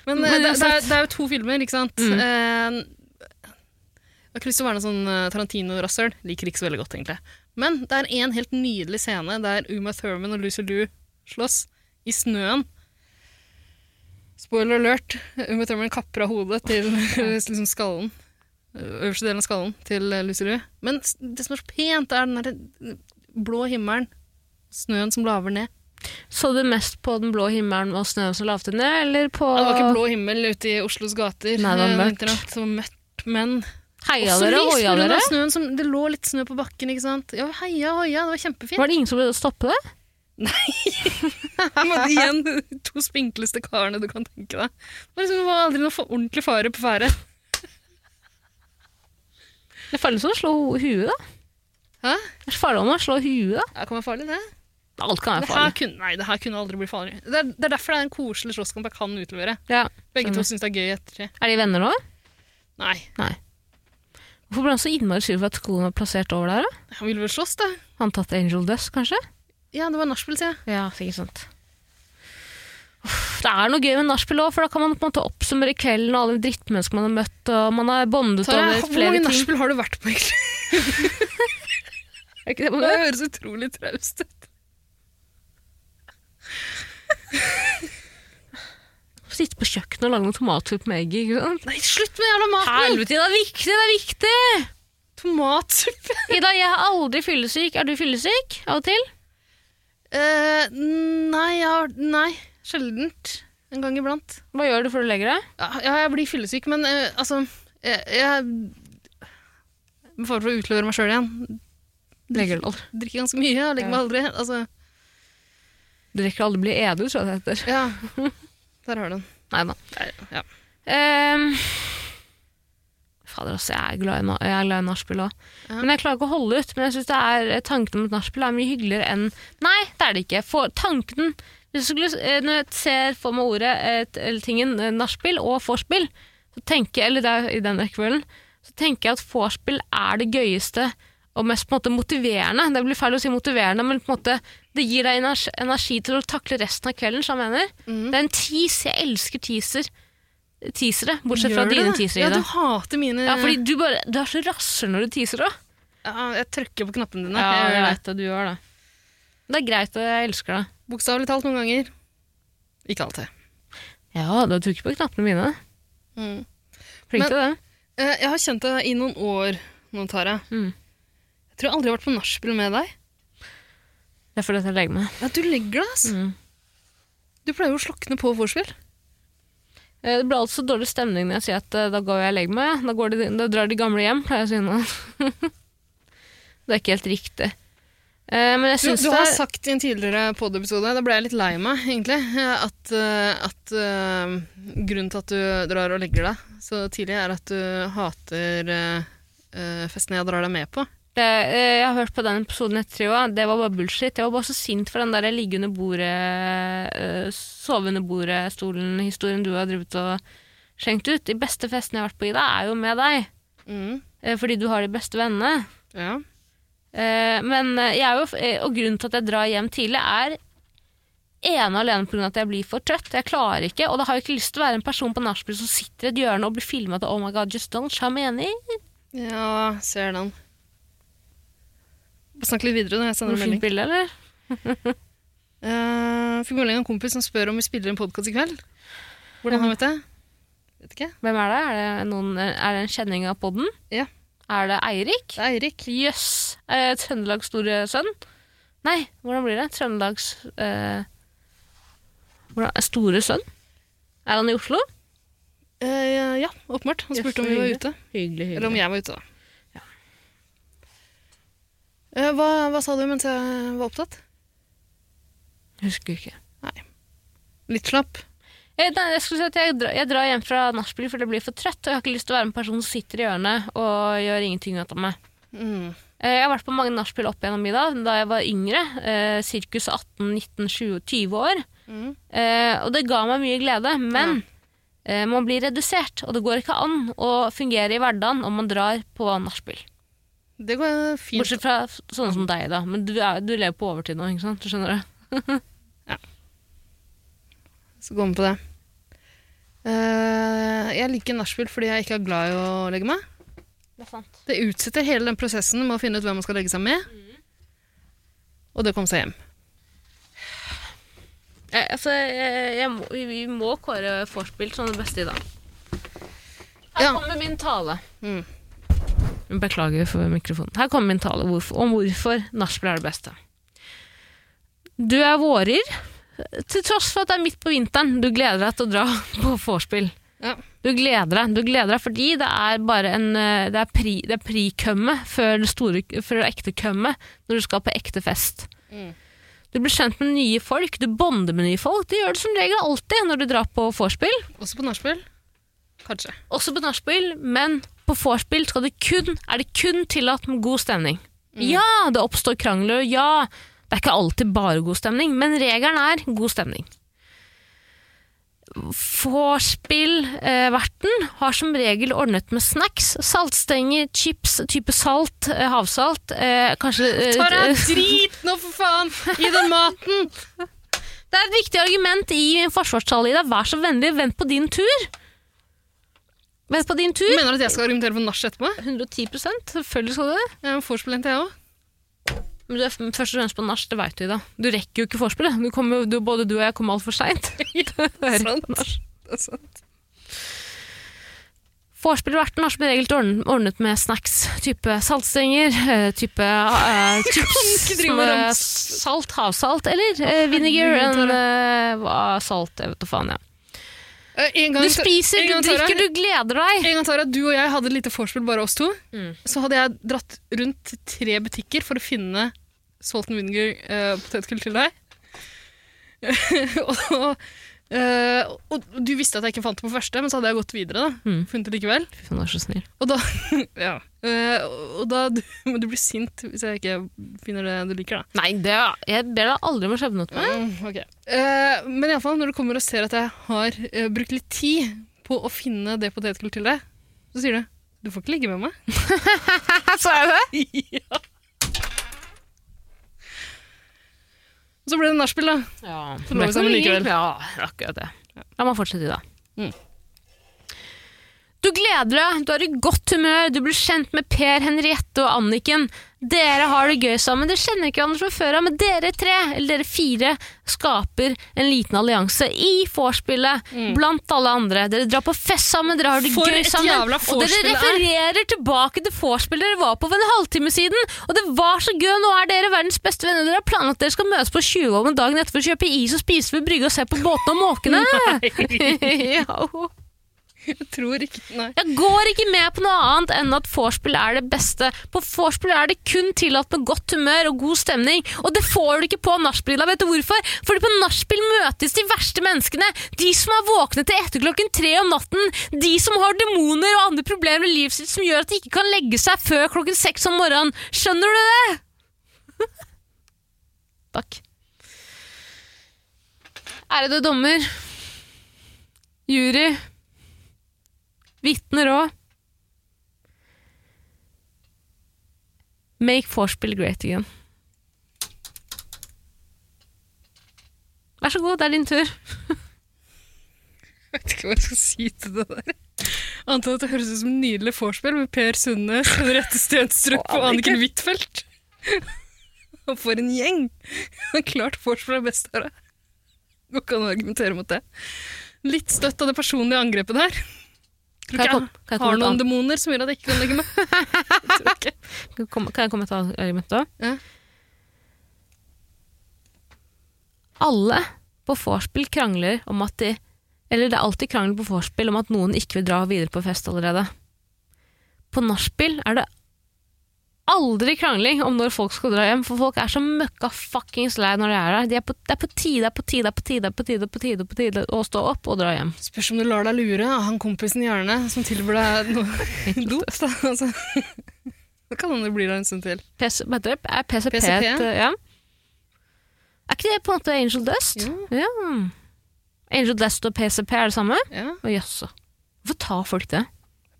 [SPEAKER 2] Men,
[SPEAKER 1] Men
[SPEAKER 2] eh, det, det, er,
[SPEAKER 1] uansett-
[SPEAKER 2] det er jo to filmer, ikke sant?
[SPEAKER 1] Mm.
[SPEAKER 2] Eh, jeg har ikke lyst til å være noe sånn eh, Tarantino-rassøl. Liker ikke så veldig godt, egentlig. Men det er en helt nydelig scene der Uma Thurman og Lucy Liu slåss i snøen. Spoiler alert. Uma Thurman kapper av hodet til liksom skallen. eh, Øverste delen av skallen til eh, Lucy Liu. Men s- det som er så pent, er den der eh, blå himmelen. Snøen som laver ned.
[SPEAKER 1] Så du mest på den blå himmelen og snøen som lavte ned, eller på
[SPEAKER 2] Ja, Det var ikke blå himmel ute i Oslos gater.
[SPEAKER 1] Nei, det var
[SPEAKER 2] eh,
[SPEAKER 1] mørkt.
[SPEAKER 2] vinternatt. Det var mørkt, men
[SPEAKER 1] Heia
[SPEAKER 2] også
[SPEAKER 1] dere,
[SPEAKER 2] lyst
[SPEAKER 1] hoia
[SPEAKER 2] på grunn av
[SPEAKER 1] dere?
[SPEAKER 2] Snøen som, det lå litt snø på bakken, ikke sant? Ja, heia, hoia, det var kjempefint.
[SPEAKER 1] Var det ingen som ville stoppe det?
[SPEAKER 2] Men igjen, de to spinkleste karene du kan tenke deg. Det var, liksom, det var aldri noe for ordentlig fare på ferde.
[SPEAKER 1] Det er farlig som å slå ho- huet, da.
[SPEAKER 2] Hæ?
[SPEAKER 1] Det er farlig om å slå huet, da.
[SPEAKER 2] Det kan være farlig, det.
[SPEAKER 1] Alt kan være
[SPEAKER 2] Det her
[SPEAKER 1] farlig.
[SPEAKER 2] kunne, nei, det her kunne aldri bli farlig. Det er, det er derfor det er en koselig slåsskamp jeg kan utlevere.
[SPEAKER 1] Ja.
[SPEAKER 2] Begge
[SPEAKER 1] Skjønner.
[SPEAKER 2] to syns det er gøy etter det.
[SPEAKER 1] Er de venner nå?
[SPEAKER 2] Nei,
[SPEAKER 1] Hvorfor ble han så innmari sur for at skolen var plassert over der? da?
[SPEAKER 2] han ville vel slåss, da.
[SPEAKER 1] Han tatt Angel Dust, kanskje?
[SPEAKER 2] Ja, det var nachspiel, sier jeg.
[SPEAKER 1] Ja, sikkert sant. Uff, Det er noe gøy med nachspiel òg, for da kan man på en måte oppsummere kvelden og alle de drittmenneskene man har møtt, og man har bondet
[SPEAKER 2] Tara,
[SPEAKER 1] over
[SPEAKER 2] Hvor
[SPEAKER 1] flere
[SPEAKER 2] mange
[SPEAKER 1] ting.
[SPEAKER 2] nachspiel har du vært på, egentlig?
[SPEAKER 1] Er ikke det man
[SPEAKER 2] Det
[SPEAKER 1] gjør?
[SPEAKER 2] høres utrolig traust ut.
[SPEAKER 1] Sitte på kjøkkenet og lage noe tomatsuppe med egg. ikke sant?
[SPEAKER 2] Nei, slutt med jævla maten!
[SPEAKER 1] Helvete, det er viktig! Det er viktig!
[SPEAKER 2] Tomatsuppe!
[SPEAKER 1] Ida, jeg er aldri fyllesyk. Er du fyllesyk av og til?
[SPEAKER 2] Eh, nei, jeg har Nei, sjeldent. En gang iblant.
[SPEAKER 1] Hva gjør du før du legger deg?
[SPEAKER 2] Ja, ja, jeg blir fyllesyk, men eh, altså Jeg, jeg Med fare for å utlevere meg sjøl igjen.
[SPEAKER 1] Legger du aldri.
[SPEAKER 2] Drikker ganske mye og legger
[SPEAKER 1] Ja.
[SPEAKER 2] meg aldri. Altså,
[SPEAKER 1] Du rekker aldri å bli edru, tror jeg det heter.
[SPEAKER 2] ja. Der har du den.
[SPEAKER 1] Nei da.
[SPEAKER 2] Nei, Ja.
[SPEAKER 1] Ehm, fader, altså, jeg er glad i, na- jeg er glad i nachspiel òg.
[SPEAKER 2] Ja.
[SPEAKER 1] Men jeg klarer ikke å holde ut. Men jeg synes det er, tanken om et nachspiel er mye hyggeligere enn Nei, det er det ikke. For tanken hvis jeg skulle, eh, Når jeg ser for meg ordet eh, t- eller tingen eh, nachspiel og vorspiel, så tenker jeg, eller det er i den rekkefølgen, så tenker jeg at vorspiel er det gøyeste og mest på en måte motiverende. Det blir feil å si motiverende, men på en måte det gir deg energi, energi til å takle resten av kvelden, som jeg mener.
[SPEAKER 2] Mm.
[SPEAKER 1] Det er en tease. Jeg elsker teaser. Teasere, bortsett
[SPEAKER 2] Gjør
[SPEAKER 1] fra
[SPEAKER 2] du
[SPEAKER 1] dine
[SPEAKER 2] det?
[SPEAKER 1] teasere.
[SPEAKER 2] Ja,
[SPEAKER 1] Ida.
[SPEAKER 2] du hater mine
[SPEAKER 1] ja, fordi du, bare, du er så rasser når du teaser òg.
[SPEAKER 2] Ja, Jeg trykker på knappene dine. jeg gjør det.
[SPEAKER 1] det. Du gjør det. Det er greit, og jeg elsker det.
[SPEAKER 2] Bokstavelig talt noen ganger. Ikke alltid.
[SPEAKER 1] Ja, du har trykket på knappene mine.
[SPEAKER 2] Mm.
[SPEAKER 1] Flink
[SPEAKER 2] Men-
[SPEAKER 1] til det.
[SPEAKER 2] Eh, Jeg har kjent deg i noen år nå, Tara.
[SPEAKER 1] Mm.
[SPEAKER 2] Jeg tror jeg aldri har vært på nachspiel med deg.
[SPEAKER 1] Det er fordi at jeg legger meg.
[SPEAKER 2] Ja, Du legger deg, ass.
[SPEAKER 1] Mm.
[SPEAKER 2] Du pleier jo å slokne på vorspiel.
[SPEAKER 1] Eh, Det blir alltid så dårlig stemning når jeg sier at eh, da går jeg og legger meg. ja. Da, går de, da drar de gamle hjem, pleier jeg å si nå. det er ikke helt riktig. Eh, men jeg
[SPEAKER 2] Du,
[SPEAKER 1] syns
[SPEAKER 2] du
[SPEAKER 1] det
[SPEAKER 2] har
[SPEAKER 1] er
[SPEAKER 2] sagt i en tidligere pod-episode, da ble jeg litt lei meg, egentlig, eh, at, eh, at eh, grunnen til at du drar og legger deg så tidlig, er at du hater eh, eh, festene jeg drar deg med på.
[SPEAKER 1] Det, eh, jeg har hørt på den episoden jeg tror, det var bare bullshit. Jeg var bare så sint for den der ligge under bordet, eh, sove under bordet-stolen-historien du har drevet og skjenkt ut. De beste festene jeg har vært på, Ida, er jo med deg.
[SPEAKER 2] Mm,
[SPEAKER 1] eh, Fordi du har de beste vennene.
[SPEAKER 2] ja.
[SPEAKER 1] Eh, Men eh, jeg er jo, f- eh, og grunnen til at jeg drar hjem tidlig, er ene og alene pga. at jeg blir for trøtt. Jeg klarer ikke, og da har jeg ikke lyst til å være en person på nachspiel som sitter i et hjørne og blir filma til Oh my god, just don't show me any.
[SPEAKER 2] ja, ser den. Snakk litt videre når jeg
[SPEAKER 1] Har
[SPEAKER 2] sender
[SPEAKER 1] du
[SPEAKER 2] en melding.
[SPEAKER 1] fint bilde, eller?
[SPEAKER 2] Eh, fikk melding av en kompis som spør om vi spiller en podkast i kveld. Hvordan har vi det? Vet ikke.
[SPEAKER 1] Hvem er det? Er det, noen, er det en kjenning av podden?
[SPEAKER 2] Ja.
[SPEAKER 1] Er det Eirik?
[SPEAKER 2] Det er Eirik.
[SPEAKER 1] Jøss. Eh, Trøndelags store sønn? Nei, hvordan blir det? Trøndelags eh, hvordan, eh, Store sønn? Er han i Oslo?
[SPEAKER 2] Eh, ja, åpenbart. Han
[SPEAKER 1] Yes,
[SPEAKER 2] spurte om
[SPEAKER 1] så
[SPEAKER 2] vi var
[SPEAKER 1] hyggelig.
[SPEAKER 2] ute.
[SPEAKER 1] Hyggelig,
[SPEAKER 2] Eller om jeg var ute, da. Eh, hva, hva sa du mens jeg var opptatt?
[SPEAKER 1] Husker ikke.
[SPEAKER 2] Litt slapp?
[SPEAKER 1] Eh, Nei, jeg skulle si at jeg, dra, jeg drar hjem fra nachspiel for det blir for trøtt, og jeg har ikke lyst til å være en person som sitter i hjørnet og gjør ingenting ut av meg.
[SPEAKER 2] Mm.
[SPEAKER 1] Eh, Jeg har vært på mange nachspiel opp gjennom middag da jeg var yngre, eh, sirkus 18-19-20 år.
[SPEAKER 2] Mm.
[SPEAKER 1] Eh, og det ga meg mye glede, men eh, man blir redusert, og det går ikke an å fungere i hverdagen om man drar på nachspiel.
[SPEAKER 2] Det går fint.
[SPEAKER 1] Bortsett fra f- sånne som deg, da. Men du, er, du lever på overtid nå, ikke sant? Du skjønner det?
[SPEAKER 2] Så går vi på det. Eh, jeg liker nachspiel fordi jeg ikke er glad i å legge meg.
[SPEAKER 1] Det er sant.
[SPEAKER 2] Det utsetter hele den prosessen med å finne ut hvem man skal legge seg med. Og det kom seg hjem.
[SPEAKER 1] Jeg, altså, jeg, jeg må, vi, vi må kåre vorspiel som det beste i dag. Her
[SPEAKER 2] Ja.
[SPEAKER 1] kommer min tale.
[SPEAKER 2] Mm.
[SPEAKER 1] Beklager for mikrofonen. Her kommer min tale hvorf- om hvorfor nachspiel er det beste. Du er vårer, til tross for at det er midt på vinteren. Du gleder deg til å dra på vorspiel.
[SPEAKER 2] Ja.
[SPEAKER 1] Du gleder deg du gleder deg fordi det er bare en eh, Det er, pri, det er prikømme før det, store, før det ekte kømme når du skal på ekte fest.
[SPEAKER 2] Mm.
[SPEAKER 1] Du blir kjent med nye folk, du bonder med nye folk. Det gjør du som regel alltid når du drar på vorspiel.
[SPEAKER 2] Også på nachspiel. Kanskje.
[SPEAKER 1] Også på nachspiel, men på vorspiel skal det kun, er det kun tillatt med god stemning. Ja, det oppstår krangler, og ja, det er ikke alltid bare god stemning, men regelen er god stemning. Vorspiel-verten har som regel ordnet med snacks, saltstenger, chips, type salt, eh, havsalt, eh, kanskje eh,
[SPEAKER 2] Tara,
[SPEAKER 1] eh,
[SPEAKER 2] drit nå, for faen! I den maten!
[SPEAKER 1] Det er et viktig argument i forsvarstale, Ida. Vær så vennlig, vent på din tur. Vent på din
[SPEAKER 2] Du
[SPEAKER 1] tur.
[SPEAKER 2] mener at jeg skal argumentere for nach etterpå?
[SPEAKER 1] 110 selvfølgelig skal du det.
[SPEAKER 2] Jeg er en vorspielent, jeg òg.
[SPEAKER 1] Men du er f- først og fremst på nach, det veit du, Ida. Du rekker jo ikke vorspielet. Du kommer jo- du- Både du og jeg kommer altfor seint.
[SPEAKER 2] Sånn.
[SPEAKER 1] Vorspiel har vært nachspiel regelt ordn- ordnet med snacks. Type saltstenger, eh, type eh,
[SPEAKER 2] ikke
[SPEAKER 1] chips
[SPEAKER 2] drive
[SPEAKER 1] som,
[SPEAKER 2] med
[SPEAKER 1] eh,
[SPEAKER 2] ramse.
[SPEAKER 1] Salt, havsalt eller eh, vinegar
[SPEAKER 2] Herregud,
[SPEAKER 1] and eh, hva- salt. Jeg vet da faen, jeg.
[SPEAKER 2] Eh, En gang,
[SPEAKER 1] Du spiser,
[SPEAKER 2] en
[SPEAKER 1] du
[SPEAKER 2] gang, Tara-
[SPEAKER 1] drikker, du gleder deg.
[SPEAKER 2] En gang, Tara, du og jeg hadde et lite vorspiel, bare oss to.
[SPEAKER 1] Mm.
[SPEAKER 2] Så hadde jeg dratt rundt til tre butikker for å finne salt and vinegar eh, potetgull til deg. og, eh, og du visste at jeg ikke fant det på første, men så hadde jeg gått videre. da.
[SPEAKER 1] Mm.
[SPEAKER 2] Funnet det likevel.
[SPEAKER 1] Fy faen, du er så snill.
[SPEAKER 2] Og da, ja. Eh, og da du, Men du blir sint hvis jeg ikke finner det du liker, da.
[SPEAKER 1] Nei, det, jeg ber deg aldri om å skjebne ut meg.
[SPEAKER 2] Mm, ok. Eh, men iallfall, når du kommer og ser at jeg har eh, brukt litt tid på å finne det potetgullet til deg, så sier du du får ikke ligge med meg.
[SPEAKER 1] Sa jeg det?
[SPEAKER 2] Og så ble det nachspiel, da.
[SPEAKER 1] Ja.
[SPEAKER 2] Så lå vi sammen likevel.
[SPEAKER 1] Ja, akkurat det. La meg fortsette i dag.
[SPEAKER 2] Mm.
[SPEAKER 1] Du Du gleder deg, du er i godt humør, du blir kjent med Per, Henriette og Anniken. Dere har det gøy sammen. Dere kjenner ikke hverandre fra før av, men dere tre, eller dere fire, skaper en liten allianse i vorspielet blant alle andre. Dere drar på fest sammen, dere har det
[SPEAKER 2] Mm. For
[SPEAKER 1] gøy
[SPEAKER 2] et
[SPEAKER 1] sammen.
[SPEAKER 2] jævla
[SPEAKER 1] og dere
[SPEAKER 2] vorspiel det er.
[SPEAKER 1] refererer tilbake til vorspielet dere var på for en halvtime siden. Og det var så gøy, nå er dere verdens beste venner. Dere har planlagt at dere skal møtes på 20 om dagen etter for å kjøpe is og spise ved brygga og se på båtene og måkene. Jo.
[SPEAKER 2] Jeg tror ikke Nei.
[SPEAKER 1] Jeg går ikke med på noe annet enn at vorspiel er det beste. På vorspiel er det kun tillatt med godt humør og god stemning, og det får du ikke på nachspiel. Vet du hvorfor? Fordi på nachspiel møtes de verste menneskene. De som er våkne til etter klokken tre om natten. De som har demoner og andre problemer i livet sitt som gjør at de ikke kan legge seg før klokken seks om morgenen. Skjønner du det? Takk. Ærede dommer, jury, vitner òg. Make vorspiel great again. Vær så god, det er din tur.
[SPEAKER 2] Jeg vet ikke hva jeg skal si til det der. Annet enn at det høres ut som en nydelig vorspiel med Per Sundnes, Henriette Stenstrup og Anniken Huitfeldt. Og for en gjeng! Klart vorspiel er best her. Går ikke an å argumentere mot det. Litt støtt av det personlige angrepet der. Tror
[SPEAKER 1] Kan jeg
[SPEAKER 2] ikke
[SPEAKER 1] kom-
[SPEAKER 2] jeg,
[SPEAKER 1] kan jeg komme
[SPEAKER 2] har
[SPEAKER 1] med et
[SPEAKER 2] noen
[SPEAKER 1] annet?
[SPEAKER 2] demoner som gjør at jeg ikke kan legge meg. Jeg tror ikke.
[SPEAKER 1] Kan komme- kan jeg komme til argumentet òg?
[SPEAKER 2] Ja.
[SPEAKER 1] Alle på vorspiel krangler om at de Eller det er alltid krangel på vorspiel om at noen ikke vil dra videre på fest allerede. På nachspiel er det aldri krangling om når folk skal dra hjem, for folk er så møkka fuckings lei når de er der. De er på, det er på tide, det er på tide, det er på tide, det er på tide, det er på tide, det er på tide å stå opp og dra hjem.
[SPEAKER 2] Spørs om du lar deg lure av han kompisen i hjørnet som tilbyr deg noe dop. Da altså. Det kan hende det blir der en stund til.
[SPEAKER 1] PC, hva heter det? er PCP,
[SPEAKER 2] PCP?
[SPEAKER 1] et, uh, ja. Er ikke det på en måte Angel Dust? Ja. Angel Dust og PCP er det samme?
[SPEAKER 2] Ja.
[SPEAKER 1] Å, jøsse. Hvorfor tar folk det?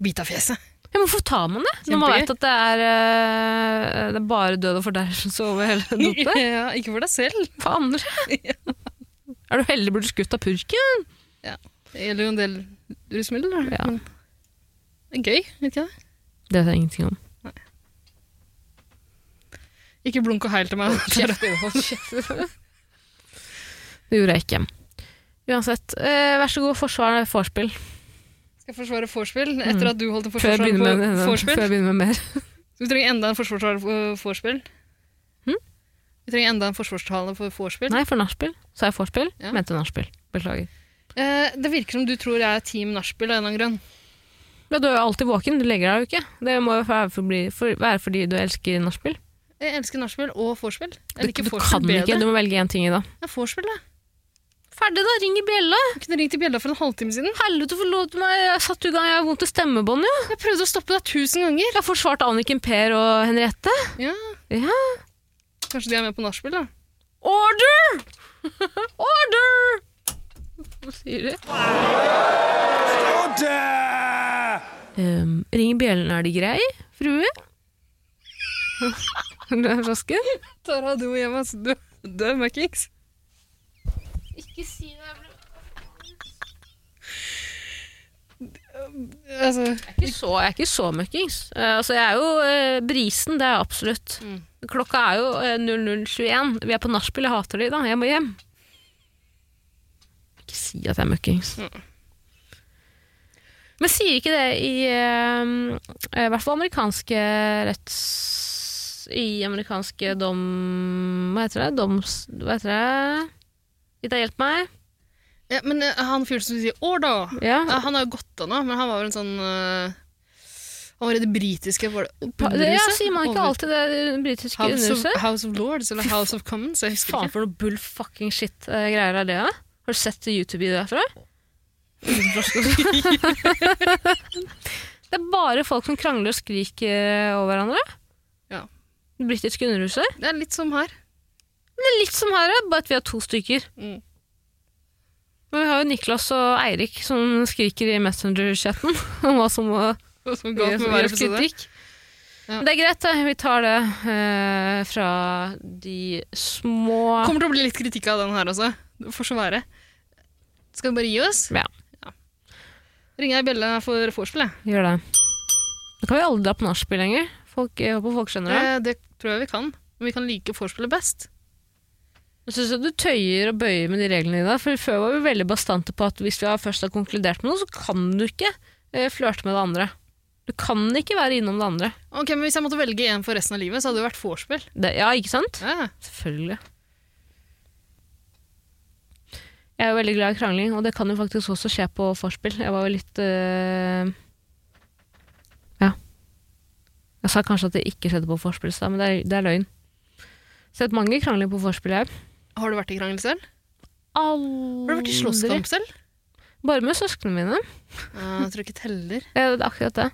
[SPEAKER 2] Bit av fjeset.
[SPEAKER 1] Ja, men hvorfor tar man det? Når man
[SPEAKER 2] Kjempegøy.
[SPEAKER 1] vet at det er, uh, det er bare død og fordervelse over hele dopet?
[SPEAKER 2] Ja, ikke for deg selv.
[SPEAKER 1] For andre? er du heldig blir du skutt av purken?
[SPEAKER 2] Det gjelder jo en del rusmidler. da.
[SPEAKER 1] Ja.
[SPEAKER 2] Men Det er gøy, vet ikke det?
[SPEAKER 1] Det vet jeg ingenting om.
[SPEAKER 2] Ikke blunk og heil til meg.
[SPEAKER 1] Det gjorde jeg ikke. Uansett, eh, vær så god, forsvar vorspiel.
[SPEAKER 2] Skal jeg forsvare vorspiel etter at du holdt en
[SPEAKER 1] Før jeg
[SPEAKER 2] forsvarsvare
[SPEAKER 1] begynner
[SPEAKER 2] på
[SPEAKER 1] med, før
[SPEAKER 2] vorspiel?
[SPEAKER 1] jeg begynner med mer.
[SPEAKER 2] Så Vi trenger enda en forsvarsvare på vorspiel. Hm? Vi trenger enda en forsvarstale for vorspiel.
[SPEAKER 1] Nei, for nachspiel. Sa jeg vorspiel?
[SPEAKER 2] Ja.
[SPEAKER 1] Mente nachspiel. Beklager.
[SPEAKER 2] Eh, det virker som du tror jeg er team nachspiel av en eller annen grunn.
[SPEAKER 1] Ja, du er jo alltid våken, du legger deg jo ikke. Det må jo være fordi, for, være fordi du elsker nachspiel.
[SPEAKER 2] Jeg elsker nachspiel og vorspiel. Jeg
[SPEAKER 1] Du,
[SPEAKER 2] liker
[SPEAKER 1] du
[SPEAKER 2] vorspiel
[SPEAKER 1] kan ikke,
[SPEAKER 2] bedre.
[SPEAKER 1] du må velge én ting i dag.
[SPEAKER 2] Ja, vorspiel, da.
[SPEAKER 1] Ferdig, da! Ring i bjella!
[SPEAKER 2] Jeg kunne ringt i bjella for en halvtime siden.
[SPEAKER 1] Helvete, forlot meg! Jeg satte i gang, jeg har vondt i stemmebåndet, jo!
[SPEAKER 2] Jeg prøvde å stoppe deg tusen ganger.
[SPEAKER 1] Jeg forsvarte Anniken Per og Henriette.
[SPEAKER 2] Ja.
[SPEAKER 1] Ja.
[SPEAKER 2] Kanskje de er med på nachspiel, da.
[SPEAKER 1] Order! Order! Hva sier du? Um, ring i bjellen, er de grei, frue? Du er flasken?
[SPEAKER 2] Tara, du og Emma, altså, du, du er møkkings.
[SPEAKER 1] Ikke si det, jeg blir
[SPEAKER 2] Altså,
[SPEAKER 1] ikke så, jeg er ikke så møkkings. Eh, altså, jeg er jo eh, brisen, det er jeg absolutt. Klokka er jo eh, 00.21. Vi er på nachspiel, jeg hater de da. Jeg må hjem. Ikke si at jeg er møkkings. Men sier ikke det i eh, I hvert fall amerikanske retts... I amerikanske dom... Hva heter det? Doms... Hva heter det? Ida, hjelp meg.
[SPEAKER 2] ja, men eh, han fyren som du sier 'år', da.
[SPEAKER 1] Ja.
[SPEAKER 2] Ja, han har jo gått av nå, men han var vel en sånn eh, Han var i det britiske var det
[SPEAKER 1] Pa- ja,
[SPEAKER 2] underhuset?
[SPEAKER 1] sier man ikke
[SPEAKER 2] Over-
[SPEAKER 1] alltid det i det britiske
[SPEAKER 2] House of,
[SPEAKER 1] underhuset?
[SPEAKER 2] House of Lords eller House of Commons? Jeg husker
[SPEAKER 1] faen
[SPEAKER 2] ikke.
[SPEAKER 1] for noe bull fucking shit eh, greier er det, da? Har du sett YouTube-videoer herfra? det er bare folk som krangler og skriker eh, over hverandre.
[SPEAKER 2] Ja.
[SPEAKER 1] Det britiske underhuset.
[SPEAKER 2] Det er litt som her.
[SPEAKER 1] Det er litt som her, eh, bare at vi har to stykker.
[SPEAKER 2] Mm.
[SPEAKER 1] Men vi har jo Niklas og Eirik som skriker i Messenger-chatten om hva som må
[SPEAKER 2] Som galt med hver
[SPEAKER 1] gjøres
[SPEAKER 2] episode.
[SPEAKER 1] kritikk.
[SPEAKER 2] Ja.
[SPEAKER 1] Det er greit, det. vi tar det eh, fra de små
[SPEAKER 2] Kommer til å bli litt kritikk av den her også. Det får så være. Skal vi bare gi oss?
[SPEAKER 1] Ja.
[SPEAKER 2] ringer jeg bjella for vorspiel, jeg.
[SPEAKER 1] Gjør det. Da kan vi alle dra på nachspiel lenger. Folk, jeg håper folk skjønner det.
[SPEAKER 2] Eh, det tror jeg vi kan. Men vi kan like vorspielet best.
[SPEAKER 1] Jeg syns du tøyer og bøyer med de reglene dine. For før var vi veldig bastante på at hvis vi har først har konkludert med noe, så kan du ikke eh, flørte med det andre. Du kan ikke være innom det andre.
[SPEAKER 2] Ok, men Hvis jeg måtte velge en for resten av livet, så hadde det vært vorspiel.
[SPEAKER 1] Det, ja, ikke sant?
[SPEAKER 2] Ja.
[SPEAKER 1] Selvfølgelig. Jeg er jo veldig glad i krangling, og det kan jo faktisk også skje på forspill. Jeg var jo litt øh, Ja. Jeg sa kanskje at det ikke skjedde på forspill, i stad, men det er, det er løgn. Sett mange krangler på forspill her.
[SPEAKER 2] Har du vært i krangel selv?
[SPEAKER 1] Aldri.
[SPEAKER 2] Har du vært i slåsskamp selv?
[SPEAKER 1] Bare med søsknene mine.
[SPEAKER 2] Eh, jeg tror ikke det teller.
[SPEAKER 1] Ja, det er akkurat det.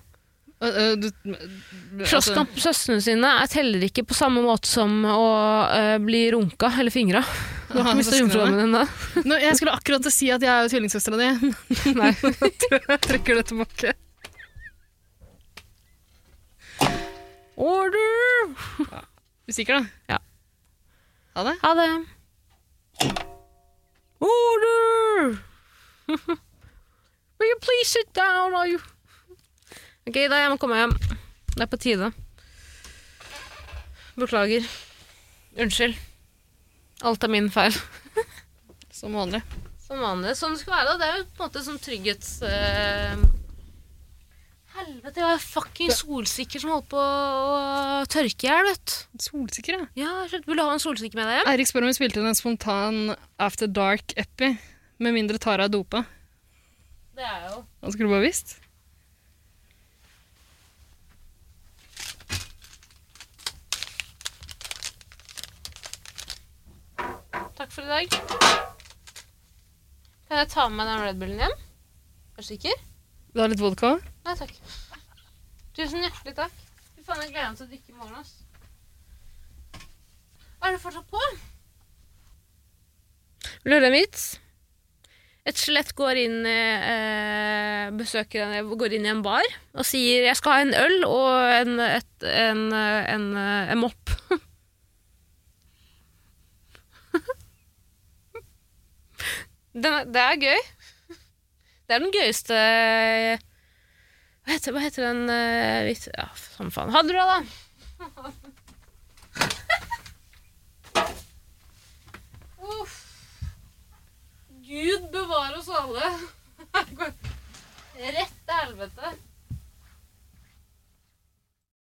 [SPEAKER 2] Eh, eh, du- altså-
[SPEAKER 1] Slåsskamp med søstrene sine er- teller ikke på samme måte som å øh, bli runka eller fingra. Du har
[SPEAKER 2] Ah,
[SPEAKER 1] ikke mista
[SPEAKER 2] søsknene.
[SPEAKER 1] jomfrudommen ennå.
[SPEAKER 2] Nå, jeg skulle akkurat til å si at jeg er jo tvillingsøstera di.
[SPEAKER 1] Nei.
[SPEAKER 2] Jeg trekker det tilbake.
[SPEAKER 1] Order!
[SPEAKER 2] Musiker, da.
[SPEAKER 1] Ja.
[SPEAKER 2] Ha det.
[SPEAKER 1] Ha det. Order! Will you please sit down, are you Ok, da jeg må komme hjem. Det er på tide. Beklager. Unnskyld. Alt er min feil.
[SPEAKER 2] Som vanlig.
[SPEAKER 1] Som vanlig. Sånn det skal være. da. Det er jo på en måte sånn trygghets... eh, Helvete, jeg var fucking solsikker som holdt på å tørke i hjel, vet du.
[SPEAKER 2] Solsikker, ja.
[SPEAKER 1] Ja, skjønt. Vil du ha en solsikker med deg hjem?
[SPEAKER 2] Eirik spør om vi spilte inn en spontan After Dark-epi. Med mindre Tara er dopa.
[SPEAKER 1] Det er jo
[SPEAKER 2] Han skulle bare visst.
[SPEAKER 1] Takk for i dag. Kan jeg ta med meg den Red Bullen igjen? Er du sikker?
[SPEAKER 2] Vil du ha litt vodka?
[SPEAKER 1] Nei takk. Tusen hjertelig takk. Fy faen, jeg gleder meg til å drikke i morgen. ass. Er du fortsatt på? Vil du høre en vits? Et skjelett går inn, eh, besøker en, går inn i en bar og sier 'jeg skal ha en øl og en, et, en, eh, en, eh, en mopp'. Den er, det er gøy. Det er den gøyeste Hva heter, hva heter den eh, vits... Ja, samme faen. Ha det bra, da! Uff. Gud bevare oss alle. Rett til helvete.